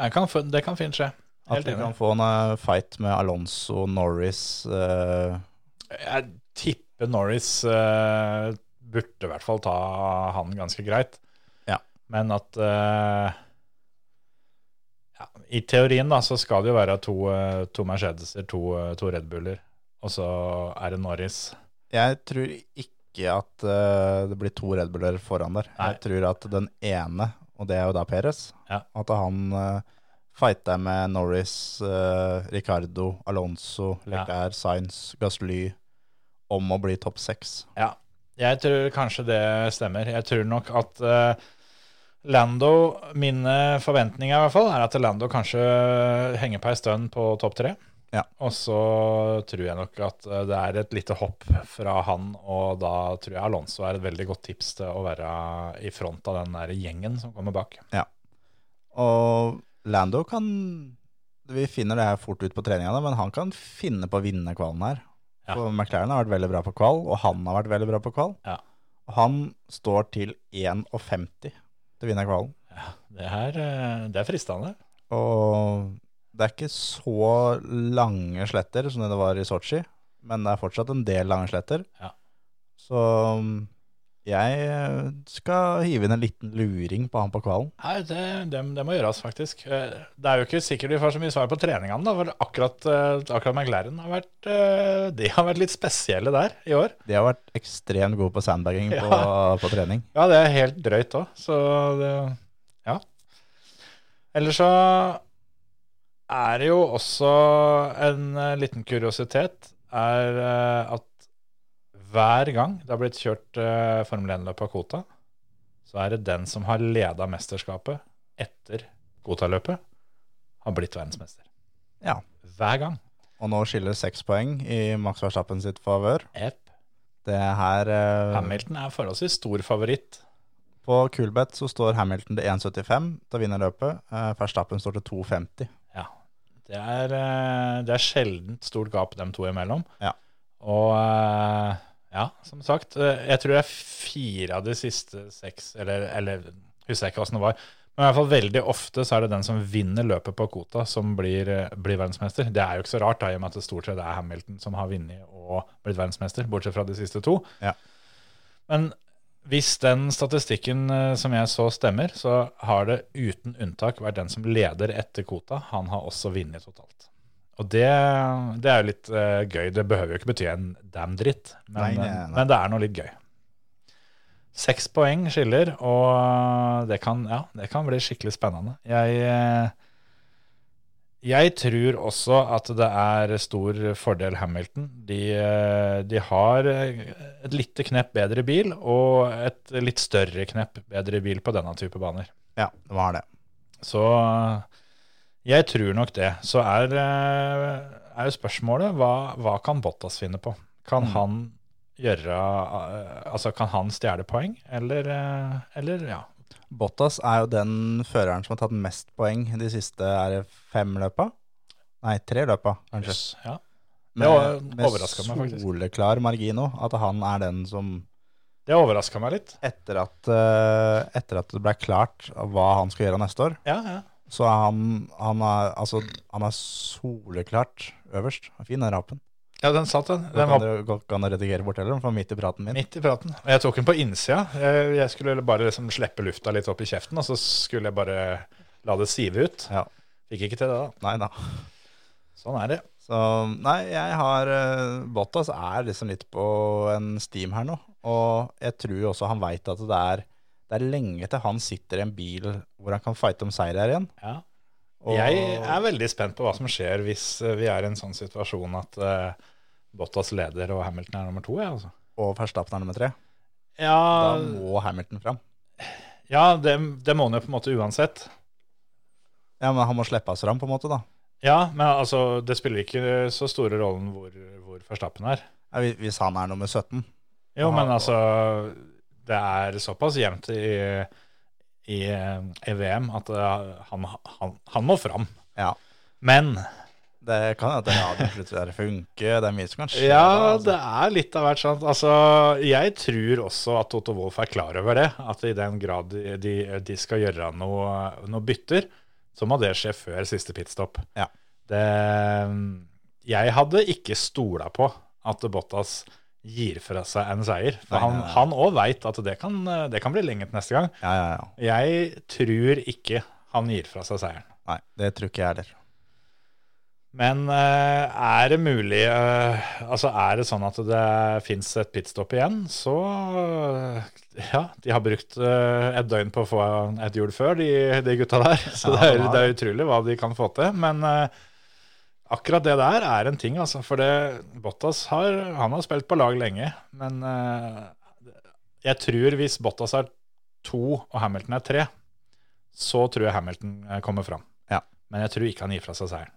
[SPEAKER 1] Det kan, fu- det kan fint skje.
[SPEAKER 4] At
[SPEAKER 1] Helt
[SPEAKER 4] vi
[SPEAKER 1] enig.
[SPEAKER 4] kan få en eh, fight med Alonso, Norris eh,
[SPEAKER 1] Jeg tipper Norris eh, burde i hvert fall ta han ganske greit.
[SPEAKER 4] Ja.
[SPEAKER 1] Men at eh, ja, I teorien da, så skal det jo være to, eh, to Mercedeser, to, eh, to Red Buller, og så er det Norris.
[SPEAKER 4] Jeg tror ikke at eh, det blir to Red Buller foran der.
[SPEAKER 1] Nei.
[SPEAKER 4] Jeg tror at den ene, og det er jo da Perez,
[SPEAKER 1] Ja.
[SPEAKER 4] at han eh, fighter med Norris, eh, Ricardo, Alonso,
[SPEAKER 1] Ja.
[SPEAKER 4] Leclerc, Sainz, Gasly om å bli topp seks.
[SPEAKER 1] Ja, jeg tror kanskje det stemmer. Jeg tror nok at eh, Lando, mine forventninger i hvert fall, er at Lando kanskje henger på ei stund på topp tre.
[SPEAKER 4] Ja.
[SPEAKER 1] Og så tror jeg nok at eh, det er et lite hopp fra han, og da tror jeg Alonso er et veldig godt tips til å være i front av den der gjengen som kommer bak.
[SPEAKER 4] Og Lando kan Vi finner det her fort ut på treningene, men han kan finne på å vinne kvalen her.
[SPEAKER 1] Ja.
[SPEAKER 4] For McLaren har vært veldig bra på kval, og han har vært veldig bra på kval.
[SPEAKER 1] Ja.
[SPEAKER 4] Og han står til 1,50 til å vinne kvalen.
[SPEAKER 1] Det her, eh, det er fristende.
[SPEAKER 4] Og det er ikke så lange sletter som det var i Sotsji, men det er fortsatt en del lange sletter.
[SPEAKER 1] Ja.
[SPEAKER 4] Så mm, jeg skal hive inn en liten luring på han på kvalen.
[SPEAKER 1] Nei, det, det, det må gjøres, faktisk. Eh, Det er jo ikke sikkert vi får så mye svar på treningene, da, for akkurat, eh, akkurat McLaren har vært, eh, de har vært litt spesielle der i år.
[SPEAKER 4] De har vært ekstremt gode på
[SPEAKER 1] [LAUGHS]
[SPEAKER 4] sandbagging på, på trening.
[SPEAKER 1] Ja, det er helt drøyt òg, så det Ja. Ellers så er det jo også en eh, liten kuriositet er eh, at hver gang det har blitt kjørt eh, Formel 1-løp på kvota, så er det den som har leda mesterskapet etter kvotaløpet, har blitt verdensmester.
[SPEAKER 4] Ja.
[SPEAKER 1] Hver gang.
[SPEAKER 4] Og nå skiller seks poeng i Max Verstappen sitt favør.
[SPEAKER 1] Epp.
[SPEAKER 4] Det her eh,
[SPEAKER 1] Hamilton er forholdsvis stor favoritt.
[SPEAKER 4] På Coolbet så står Hamilton til 1,75 til å vinne løpet. Eh, Verstappen står til 2,50.
[SPEAKER 1] Ja. Det er, eh, det er sjeldent stort gap dem to imellom.
[SPEAKER 4] Ja.
[SPEAKER 1] Og eh, ja, som sagt, eh, jeg tror det er fire av de siste seks, eller, eller husker jeg ikke hvordan det var. Men i hvert fall veldig ofte så er det den som vinner løpet på kvota, som blir, eh, blir verdensmester. Det er jo ikke så rart, da, i og med at det stort sett er Hamilton som har vunnet og blitt verdensmester, bortsett fra de siste to.
[SPEAKER 4] Ja.
[SPEAKER 1] Men hvis den statistikken eh, som jeg så stemmer, så har det uten unntak vært den som leder etter kvota. Han har også vunnet totalt. Og det, det er jo litt eh, gøy. Det behøver jo ikke bety en damn dritt, men, eh,
[SPEAKER 4] Nei, nei, nei.
[SPEAKER 1] men det er noe litt gøy. Seks poeng skiller, og det kan, ja, det kan bli skikkelig spennende. Jeg, eh, jeg tror også at det er stor fordel Hamilton. De, eh, de har eh, et lite knepp bedre bil, og et litt større knepp bedre bil på denne type baner.
[SPEAKER 4] Ja, det var det.
[SPEAKER 1] Så eh, jeg tror nok det. Så er, eh, er jo spørsmålet hva, hva kan Bottas finne på? Kan han gjøre eh, Altså, kan han stjele poeng, eller, eh, eller ja.
[SPEAKER 4] Bottas er jo den føreren som har tatt mest poeng de siste er det fem løpa. Nei, tre løpa, kanskje.
[SPEAKER 1] Yes, ja.
[SPEAKER 4] Med,
[SPEAKER 1] var-
[SPEAKER 4] med
[SPEAKER 1] overrasket meg faktisk.
[SPEAKER 4] soleklar margin òg, at han er den som
[SPEAKER 1] Det overraska meg litt.
[SPEAKER 4] etter at, eh, etter at det ble klart hva han skal gjøre neste år,
[SPEAKER 1] Ja, ja.
[SPEAKER 4] så er han, han, er, altså, han er soleklart øverst. Fin den rapen.
[SPEAKER 1] ja den satt, den.
[SPEAKER 4] Den
[SPEAKER 1] Den var
[SPEAKER 4] kan du godt kan du redigere bort heller, den får midt i praten min.
[SPEAKER 1] Midt i praten. Og jeg tok den på innsida. Jeg, jeg skulle bare liksom slippe lufta litt opp i kjeften, og så skulle jeg bare la det sive ut.
[SPEAKER 4] Ja.
[SPEAKER 1] Fikk ikke til det, da.
[SPEAKER 4] Nei da.
[SPEAKER 1] Sånn er det.
[SPEAKER 4] Så nei, jeg har eh, Bottas er liksom litt på en steam her nå. Og jeg tror jo også han veit at det er, det er lenge til han sitter i en bil hvor han kan fighte om seier her igjen.
[SPEAKER 1] Ja.
[SPEAKER 4] Og
[SPEAKER 1] Jeg er veldig spent på hva som skjer hvis eh, vi er i en sånn situasjon at eh, Bottas leder og Hamilton er nummer to. Jeg, altså.
[SPEAKER 4] og Verstappen er nummer tre. Da
[SPEAKER 1] Ja,
[SPEAKER 4] må Hamilton fram.
[SPEAKER 1] ja det, det må han jo på en måte uansett.
[SPEAKER 4] Ja, men han må slippe oss fram, på en måte, da.
[SPEAKER 1] Ja, men altså, det spiller ikke så store rollen hvor, hvor Verstappen er.
[SPEAKER 4] Ja, hvis- Hvis han er nummer 17.
[SPEAKER 1] Jo,
[SPEAKER 4] Aha.
[SPEAKER 1] men altså Det er såpass jevnt i, i, i VM at eh, han, han, han må fram.
[SPEAKER 4] Ja.
[SPEAKER 1] Men
[SPEAKER 4] Det kan hende at radioen
[SPEAKER 1] [LAUGHS]
[SPEAKER 4] slutter å funke, det er mye som kan skje.
[SPEAKER 1] ja,
[SPEAKER 4] da, altså.
[SPEAKER 1] det er litt av hvert sant. Altså, jeg tror også at Otto Wolff er klar over det. At i den grad de, de, de skal gjøre noe, noe bytter, så må det skje før siste pitstop.
[SPEAKER 4] Ja.
[SPEAKER 1] Det, jeg hadde ikke stola på at Bottas gir fra seg en seier. For
[SPEAKER 4] Nei, nei, nei.
[SPEAKER 1] han òg veit at det kan, det kan bli lenge til neste gang.
[SPEAKER 4] Ja, ja, ja.
[SPEAKER 1] Jeg tror ikke han gir fra seg seieren.
[SPEAKER 4] Nei, det tror ikke jeg heller.
[SPEAKER 1] Men eh, er det mulig eh, Altså er det sånn at det fins et pitstop igjen, så eh, Ja, de har brukt eh, et døgn på å få et hjul før, de, de gutta der. [LAUGHS] Så
[SPEAKER 4] Ja,
[SPEAKER 1] det, er,
[SPEAKER 4] de har
[SPEAKER 1] det er utrolig hva de kan få til. Men eh, akkurat det der er en ting, altså. For det, Bottas har, han har spilt på lag lenge. Men eh, jeg tror hvis Bottas er to og Hamilton er tre, så tror jeg Hamilton eh, kommer fram.
[SPEAKER 4] Ja.
[SPEAKER 1] Men jeg tror ikke han gir fra seg seieren.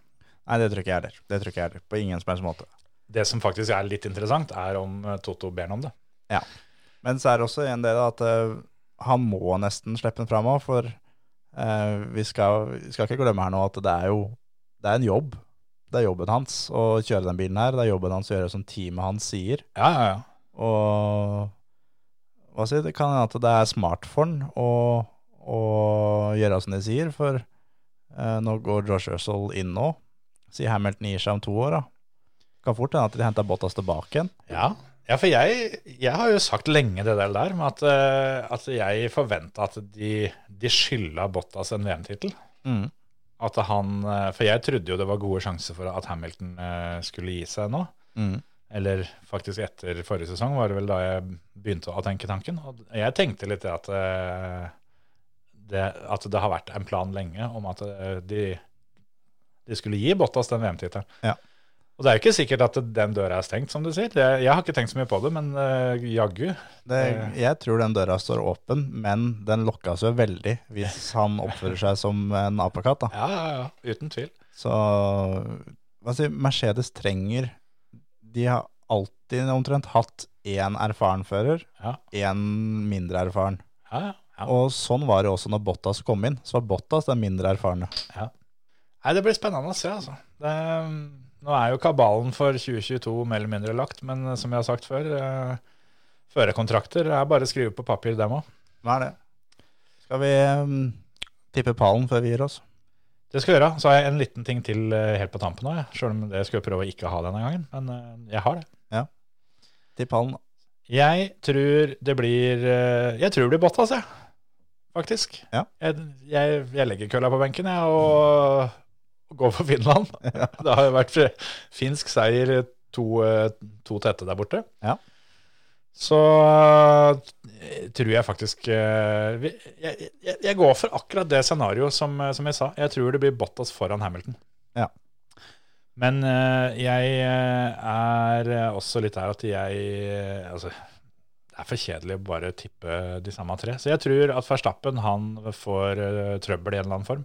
[SPEAKER 4] Nei, det tror ikke jeg heller. Det tror ikke jeg heller. På ingen som helst måte.
[SPEAKER 1] Det som faktisk er litt interessant, er om eh, Toto ber han om det.
[SPEAKER 4] Men så er det også en del at eh, han må nesten slippe den fram òg, for eh, vi, skal, vi skal ikke glemme her nå at det er jo det er en jobb. Det er jobben hans å kjøre den bilen her. Det er jobben hans å gjøre som teamet hans sier.
[SPEAKER 1] Ja, ja, ja.
[SPEAKER 4] Og hva sier jeg, det kan hende at det er smart for han å, å gjøre som de sier, for eh, nå går Josh Russell inn nå. Sier Hamilton gir seg om to år, da. Kan fort hende at de henter Bottas tilbake igjen.
[SPEAKER 1] Ja, ja for jeg, jeg har jo sagt lenge det der, der med at, eh, at jeg forventa at de, de skylda Bottas en VM-tittel.
[SPEAKER 4] Mm.
[SPEAKER 1] At han, eh, For jeg trodde jo det var gode sjanser for at Hamilton eh, skulle gi seg nå.
[SPEAKER 4] Mm.
[SPEAKER 1] Eller faktisk etter forrige sesong var det vel da jeg begynte å tenke tanken. Og jeg tenkte litt det at eh, det, at det har vært en plan lenge om at eh, de, de skulle gi Bottas den VM-tittelen.
[SPEAKER 4] Ja.
[SPEAKER 1] Og det er jo ikke sikkert at den døra er stengt, som du sier. Det, jeg har ikke tenkt så mye på det, men eh, jaggu.
[SPEAKER 4] Det, jeg tror den døra står åpen, men den lokka seg veldig hvis han oppfører seg som en apekatt. Da.
[SPEAKER 1] Ja, ja, ja. Uten tvil.
[SPEAKER 4] Så hva sier, Mercedes trenger De har alltid omtrent hatt én erfaren fører,
[SPEAKER 1] Ja.
[SPEAKER 4] én mindre erfaren.
[SPEAKER 1] Ja, ja, ja.
[SPEAKER 4] Og sånn var det også når Bottas kom inn. Så var Bottas den mindre erfarne.
[SPEAKER 1] Nei, det blir spennende å se, altså. Det, nå er jo kabalen for 2022 mer eller mindre lagt, men som jeg har sagt før, eh, førerkontrakter er bare å skrive på papir, dem òg.
[SPEAKER 4] Hva er det? Skal vi mm, tippe pallen før vi gir oss?
[SPEAKER 1] Det skal jeg gjøre. Så har jeg en liten ting til eh, helt på tampen òg, sjøl om det skal jeg prøve å ikke ha denne gangen. Men eh, jeg har det.
[SPEAKER 4] Tipp pallen.
[SPEAKER 1] Jeg tror det blir eh, Jeg tror det blir Bottas, jeg. Faktisk.
[SPEAKER 4] Ja.
[SPEAKER 1] Jeg, jeg, jeg legger kølla på benken, jeg, og, og går for
[SPEAKER 4] [LAUGHS]
[SPEAKER 1] Finland. Det har jo vært finsk seier to, eh, to tette der borte.
[SPEAKER 4] Ja.
[SPEAKER 1] Så eh, tror jeg faktisk eh, vi- Jeg, jeg, jeg går for akkurat det scenarioet som, eh, som jeg sa. Jeg tror det blir Bottas foran Hamilton.
[SPEAKER 4] Ja.
[SPEAKER 1] Men eh, jeg eh, er eh, også litt der at jeg eh, Altså, det er for kjedelig å bare tippe de samme tre. Så jeg tror at Verstappen han får eh, trøbbel i en eller annen form.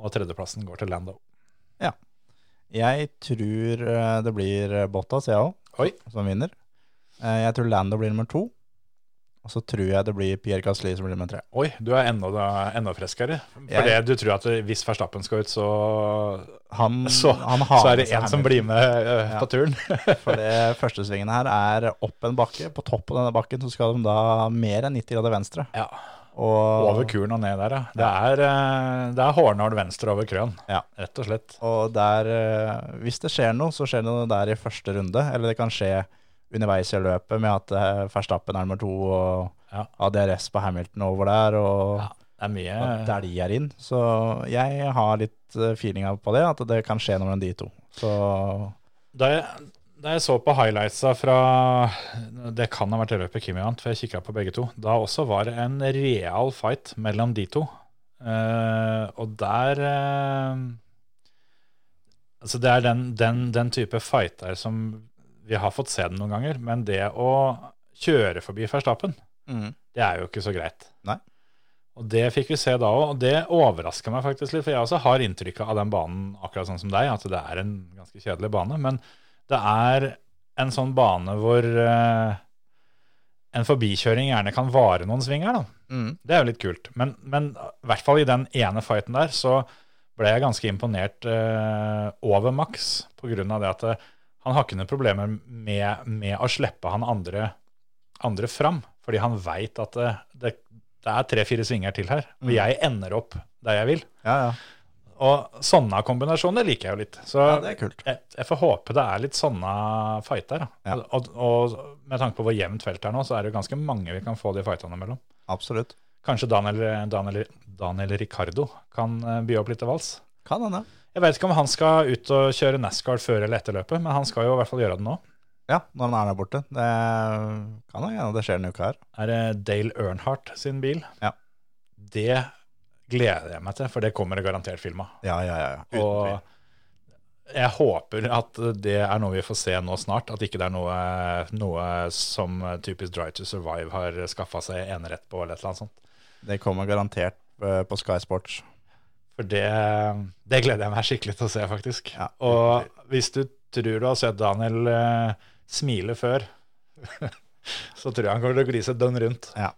[SPEAKER 1] Og tredjeplassen går til Lando.
[SPEAKER 4] Jeg tror eh, det blir eh, Bottas, jeg òg,
[SPEAKER 1] Oi.
[SPEAKER 4] som vinner. Eh, Jeg tror Lando blir nummer to. Og så tror jeg det blir Pierre Gasli som blir nummer tre.
[SPEAKER 1] Oi, du er enda, da, enda freskere. For
[SPEAKER 4] Jeg-
[SPEAKER 1] det du tror at hvis Verstappen skal ut, så,
[SPEAKER 4] Han,
[SPEAKER 1] [LAUGHS] så,
[SPEAKER 4] Mm, han har
[SPEAKER 1] så er det
[SPEAKER 4] med seg
[SPEAKER 1] en som
[SPEAKER 4] Hamilton,
[SPEAKER 1] blir med eh,
[SPEAKER 4] Ja.
[SPEAKER 1] på turen.
[SPEAKER 4] [LAUGHS] For det førstesvingen her er opp en bakke. På toppen av denne bakken så skal de da mer enn 90 grader venstre.
[SPEAKER 1] Ja.
[SPEAKER 4] Og,
[SPEAKER 1] Over kuren og ned der, ja. Det er, eh, det er hårnål venstre over krøen,
[SPEAKER 4] Ja.
[SPEAKER 1] rett og slett.
[SPEAKER 4] Og der, eh, hvis det skjer noe, så skjer det noe der i første runde. Eller det kan skje underveis i løpet med at eh, Verstappen er nummer to, og
[SPEAKER 1] Ja.
[SPEAKER 4] ADRS på Hamilton over der, og
[SPEAKER 1] Ja, Det er mye
[SPEAKER 4] at der de er inn. Så jeg har litt eh, feelinga på det, at det kan skje noe mellom de to. Så
[SPEAKER 1] Da jeg, da jeg så på highlightsa fra Det kan ha vært det løpet Kimi vant, for jeg kikka på begge to. Da også var det en real fight mellom de to. Eh, og der eh, Altså, det er den, den, den type fighter som vi har fått se den noen ganger, men det å kjøre forbi Verstappen,
[SPEAKER 4] Mm.
[SPEAKER 1] det er jo ikke så greit.
[SPEAKER 4] Nei.
[SPEAKER 1] Og det fikk vi se da òg, og det overraska meg faktisk litt. For jeg også har inntrykket av den banen akkurat sånn som deg, at det er en ganske kjedelig bane. Men det er en sånn bane hvor eh, en forbikjøring gjerne kan vare noen svinger, da.
[SPEAKER 4] Mm.
[SPEAKER 1] Det er jo litt kult. Men, men i hvert fall i den ene fighten der, så ble jeg ganske imponert eh, over Max, på grunn av det at eh, han har ikke noen problemer med, med å slippe han andre, andre fram, fordi han veit at det, det, det er tre-fire svinger til her,
[SPEAKER 4] Mm.
[SPEAKER 1] og jeg ender opp der jeg vil.
[SPEAKER 4] Ja, ja.
[SPEAKER 1] Og sånne kombinasjoner liker jeg jo litt. Så
[SPEAKER 4] ja det er kult.
[SPEAKER 1] jeg, jeg får håpe det er litt sånne fighter. da.
[SPEAKER 4] Ja.
[SPEAKER 1] Og, og, og med tanke på hvor jevnt feltet er nå, så er det jo ganske mange vi kan få de fightene mellom.
[SPEAKER 4] Absolutt.
[SPEAKER 1] Kanskje Daniel, Daniel, Daniel Ricardo kan eh, by opp litt til vals.
[SPEAKER 4] Kan hende.
[SPEAKER 1] Jeg vet ikke om han skal ut og kjøre NASCAR før eller etter løpet, men han skal jo i hvert fall gjøre det nå.
[SPEAKER 4] Ja, når han er der borte. Det kan jo hende det skjer en uke her.
[SPEAKER 1] Er det Dale Earnhardt sin bil?
[SPEAKER 4] Ja.
[SPEAKER 1] Det gleder jeg meg til, for det kommer det garantert film av.
[SPEAKER 4] Ja, ja, ja. ja. Uten tvil.
[SPEAKER 1] Og jeg håper at det er noe vi får se nå snart, at ikke det er noe, noe som typisk Drive to Survive har skaffa seg enerett på, eller et eller annet sånt.
[SPEAKER 4] Det kommer garantert eh, på Sky Sports.
[SPEAKER 1] For det, det gleder jeg meg skikkelig til å se, faktisk.
[SPEAKER 4] Ja.
[SPEAKER 1] og hvis du tror du har sett Daniel eh, smile før, [LAUGHS] så tror jeg han kommer til å glise dønn rundt.
[SPEAKER 4] Ja.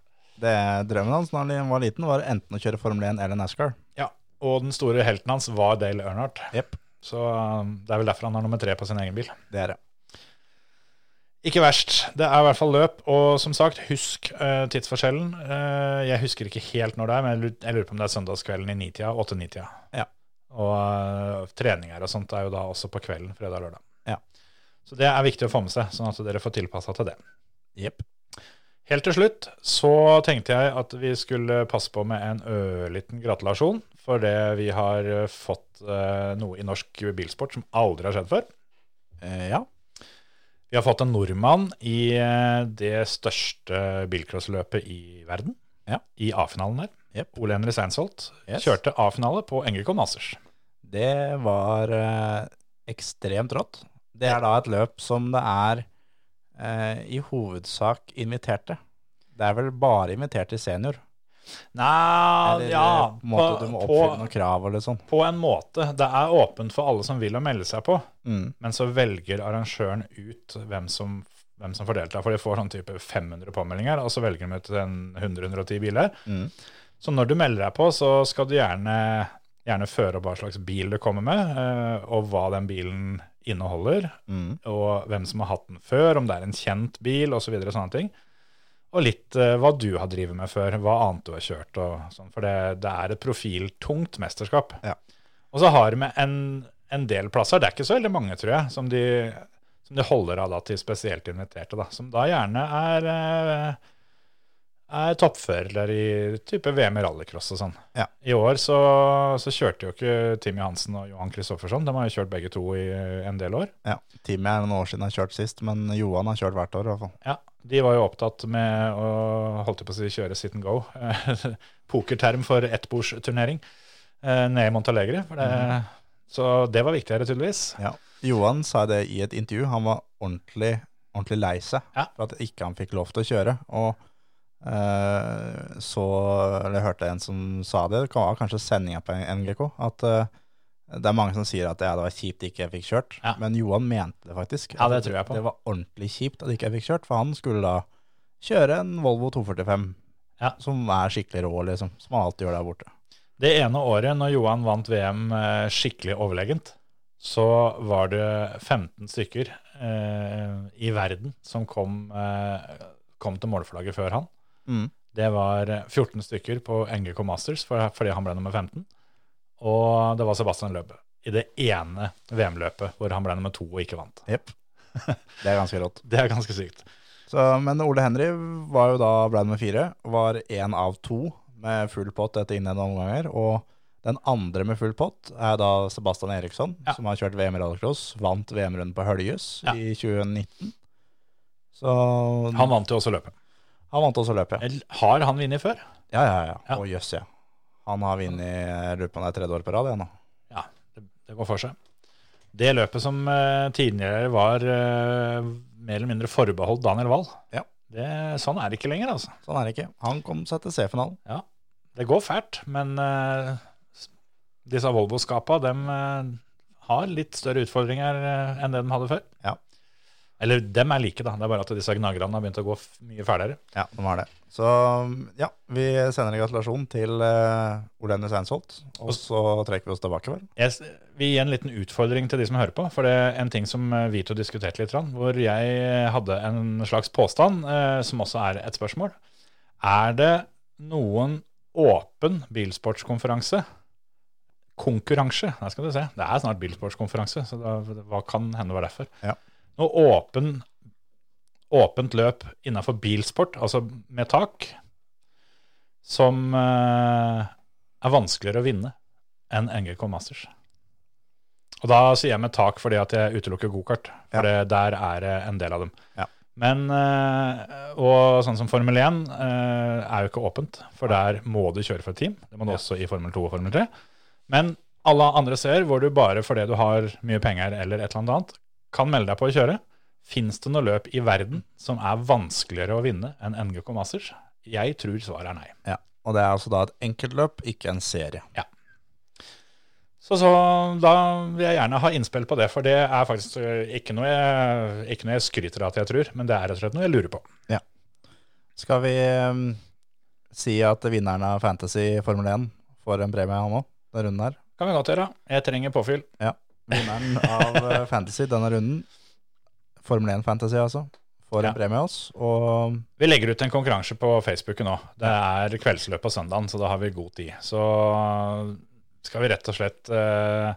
[SPEAKER 4] Det Drømmen hans da han var liten, var enten å kjøre Formel 1 eller NASCAR.
[SPEAKER 1] Ja, Og den store helten hans var Dale Earnhardt.
[SPEAKER 4] Jepp.
[SPEAKER 1] Så um, det er vel derfor han har nummer tre på sin egen bil.
[SPEAKER 4] Det er det.
[SPEAKER 1] Ikke verst. Det er i hvert fall løp. Og som sagt, husk eh, tidsforskjellen. Eh, jeg husker ikke helt når det er, men jeg lur- jeg lurer på om det er søndagskvelden i 9-tida. 8-9-tida.
[SPEAKER 4] Ja.
[SPEAKER 1] Og eh, treninger og sånt er jo da også på kvelden fredag-lørdag.
[SPEAKER 4] Ja.
[SPEAKER 1] Så det er viktig å få med seg, sånn at dere får tilpassa til det.
[SPEAKER 4] Jepp.
[SPEAKER 1] Helt til slutt så tenkte jeg at vi skulle passe på med en ørliten gratulasjon for det vi har eh, fått eh, noe i norsk bilsport som aldri har skjedd før.
[SPEAKER 4] Eh, ja.
[SPEAKER 1] Vi har fått en nordmann i eh, det største bilcrossløpet i verden.
[SPEAKER 4] Ja.
[SPEAKER 1] I A-finalen der.
[SPEAKER 4] Jepp.
[SPEAKER 1] Ole Henry Seinsholt
[SPEAKER 4] Yes.
[SPEAKER 1] kjørte A-finale på Engelke og Masters.
[SPEAKER 4] Det var eh, ekstremt rått. Det er da et løp som det er eh, i hovedsak inviterte. Det er vel bare inviterte senior?
[SPEAKER 1] Nei,
[SPEAKER 4] Eller eh,
[SPEAKER 1] ja
[SPEAKER 4] på en måte du
[SPEAKER 1] på,
[SPEAKER 4] må oppfylle
[SPEAKER 1] på,
[SPEAKER 4] noen krav eller sånn?
[SPEAKER 1] på en måte. Det er åpent for alle som vil å melde seg på,
[SPEAKER 4] Mm.
[SPEAKER 1] men så velger arrangøren ut hvem som, hvem som får delta. For de får sånn type 500 påmeldinger, og så velger de ut en 100-110 biler.
[SPEAKER 4] Mm.
[SPEAKER 1] Så når du melder deg på, så skal du gjerne, gjerne føre opp hva slags bil du kommer med, eh, og hva den bilen inneholder,
[SPEAKER 4] Mm.
[SPEAKER 1] og hvem som har hatt den før, om det er en kjent bil osv. Og, sånne ting. og litt eh, hva du har drevet med før, hva annet du har kjørt. og sånn, For det, det er et profiltungt mesterskap.
[SPEAKER 4] Ja.
[SPEAKER 1] Og så har vi en, en del plasser, det er ikke så veldig mange, tror jeg, som de, som de holder av da til spesielt inviterte. da, Som da gjerne er, eh, er toppfører i type VM i rallycross og sånn.
[SPEAKER 4] Ja.
[SPEAKER 1] I år så, så kjørte jo ikke Tim Johansen og Johan Kristoffersson, de har jo kjørt begge to i eh, en del år.
[SPEAKER 4] Ja. Timmy er noen år siden han har kjørt sist, men Johan har kjørt hvert år i hvert fall.
[SPEAKER 1] Ja, de var jo opptatt med å holdt jeg på å si, kjøre sit and go. [LAUGHS] Pokerterm for ettbordsturnering eh, nede i Montalegre. For det, Så det var viktigere, tydeligvis.
[SPEAKER 4] Ja. Johan sa det i et intervju. Han var ordentlig, ordentlig lei seg
[SPEAKER 1] Ja.
[SPEAKER 4] for at ikke han fikk lov til å kjøre. Og eh, så eller jeg hørte en som sa det, det var kanskje sendinga på NGK, at eh, det er mange som sier at ja, det var kjipt ikke jeg fikk kjørt,
[SPEAKER 1] Ja.
[SPEAKER 4] men Johan mente det faktisk.
[SPEAKER 1] Ja, det
[SPEAKER 4] At
[SPEAKER 1] tror jeg på.
[SPEAKER 4] Det var ordentlig kjipt at ikke jeg fikk kjørt, for han skulle da kjøre en Volvo 245,
[SPEAKER 1] Ja.
[SPEAKER 4] som er skikkelig rå, liksom, som han alltid gjør der borte.
[SPEAKER 1] Det ene året når Johan vant VM eh, skikkelig overlegent, så var det 15 stykker eh, i verden som kom, eh, kom til målflagget før han.
[SPEAKER 4] Mm.
[SPEAKER 1] Det var 14 stykker på NGK Masters for, fordi han ble nummer 15. Og det var Sebastian Løbe i det ene VM-løpet hvor han ble nummer to og ikke vant.
[SPEAKER 4] Jepp. Det er ganske rått.
[SPEAKER 1] Det er ganske sykt.
[SPEAKER 4] Så, men Ole Henry var jo da ble nummer fire, var én av to med full pott etter innledende omganger. Og den andre med full pott er da Sebastian Eriksson,
[SPEAKER 1] Ja.
[SPEAKER 4] som har kjørt VM i rallycross. Vant VM-runden på Høljes
[SPEAKER 1] Ja.
[SPEAKER 4] i 2019. Så
[SPEAKER 1] Han
[SPEAKER 4] han,
[SPEAKER 1] vant jo også løpet.
[SPEAKER 4] vant også løpet, ja.
[SPEAKER 1] Eller, Har han vunnet før?
[SPEAKER 4] Ja, ja, ja.
[SPEAKER 1] Ja.
[SPEAKER 4] Å, jøss, ja. Han har vunnet jeg lurer på om det er tredje år på rad, ja, nå.
[SPEAKER 1] Ja, det, det går for seg. Det løpet som eh, tidligere var eh, mer eller mindre forbeholdt Daniel Wall,
[SPEAKER 4] Ja.
[SPEAKER 1] det, sånn er det ikke lenger, altså.
[SPEAKER 4] Sånn er det ikke. Han kom seg til C-finalen.
[SPEAKER 1] Ja, det går fælt, men eh, s- disse Volvo-skapa, de har litt større utfordringer eh, enn det de hadde før.
[SPEAKER 4] Ja.
[SPEAKER 1] Eller dem er like, da. Det er bare at disse gnagerne har begynt å gå f mye fælere.
[SPEAKER 4] Ja, de har det. Så ja, vi sender en gratulasjon til eh, Ole Henry Seinsholt. Og så trekker vi oss tilbake, vel.
[SPEAKER 1] Jeg, s- vil gi en liten utfordring til de som hører på, for det er en ting som eh, vi to diskuterte litt, grann, hvor jeg eh, hadde en slags påstand, eh, som også er et spørsmål. Er det noen åpen bilsportskonferanse? Konkurranse, der skal du se. Det er snart bilsportskonferanse, så da, hva kan hende var derfor?
[SPEAKER 4] Ja.
[SPEAKER 1] Noe åpen, åpent løp innenfor bilsport, altså med tak, som eh, er vanskeligere å vinne enn NGK Masters. Og da sier jeg med tak fordi at jeg utelukker gokart, for det, der er det en del av dem.
[SPEAKER 4] Ja.
[SPEAKER 1] Men, eh, og sånn som Formel 1 eh, er jo ikke åpent, for der må du kjøre for et team. Det må du også i Formel 2 og Formel 3. Men alle andre steder hvor du bare fordi du har mye penger eller et eller annet, kan melde deg på å kjøre, fins det noe løp i verden som er vanskeligere å vinne enn NGK Masters? Jeg tror svaret er nei.
[SPEAKER 4] Ja, og det er altså da et enkeltløp, ikke en serie.
[SPEAKER 1] Så, så da vil jeg gjerne ha innspill på det, for det er faktisk øh, ikke noe jeg, ikke noe jeg skryter av at jeg tror, men det er rett og slett noe jeg lurer på.
[SPEAKER 4] Skal vi ehm, si at vinneren av Fantasy Formel 1 får en premie, han òg, denne runden her?
[SPEAKER 1] Kan vi godt gjøre. Jeg trenger påfyll.
[SPEAKER 4] Ja.
[SPEAKER 1] [LAUGHS]
[SPEAKER 4] Vinneren av eh, Fantasy denne runden, Formel 1 Fantasy altså, får
[SPEAKER 1] Ja.
[SPEAKER 4] en premie av oss. Og um,
[SPEAKER 1] Vi legger ut en konkurranse på Facebooken nå. Det er kveldsløp på søndagen, så da har vi god tid. Så skal vi rett og slett eh,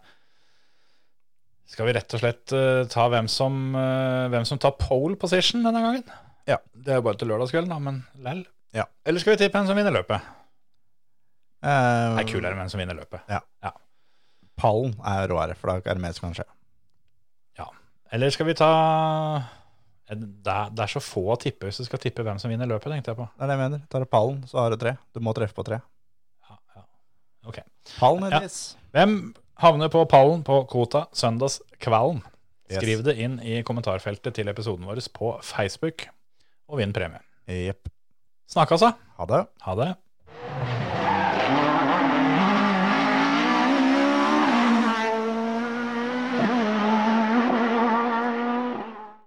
[SPEAKER 1] Skal vi rett og slett eh, ta hvem som, eh, hvem som tar pole position denne gangen?
[SPEAKER 4] Ja.
[SPEAKER 1] Det er jo bare til lørdagskvelden, da, men lell.
[SPEAKER 4] Ja.
[SPEAKER 1] Eller skal vi tippe hvem som vinner løpet?
[SPEAKER 4] eh,
[SPEAKER 1] Det er kulere enn hvem som vinner løpet.
[SPEAKER 4] Um, pallen er råere, for da er det mer som kan skje.
[SPEAKER 1] Eller skal vi ta det er, det er så få å tippe hvis du skal tippe hvem som vinner løpet, tenkte jeg på.
[SPEAKER 4] Det er det jeg mener. Tar du pallen, så har du tre. Du må treffe på tre.
[SPEAKER 1] Ja, ja.
[SPEAKER 4] Pallen,
[SPEAKER 1] Ja.
[SPEAKER 4] Edis.
[SPEAKER 1] Hvem havner på pallen på Kota søndagskvelden?
[SPEAKER 4] Yes.
[SPEAKER 1] Skriv det inn i kommentarfeltet til episoden vår på Facebook, og vinn premie.
[SPEAKER 4] Jepp.
[SPEAKER 1] Snakkes, da.
[SPEAKER 4] Ha det.
[SPEAKER 1] Ha det.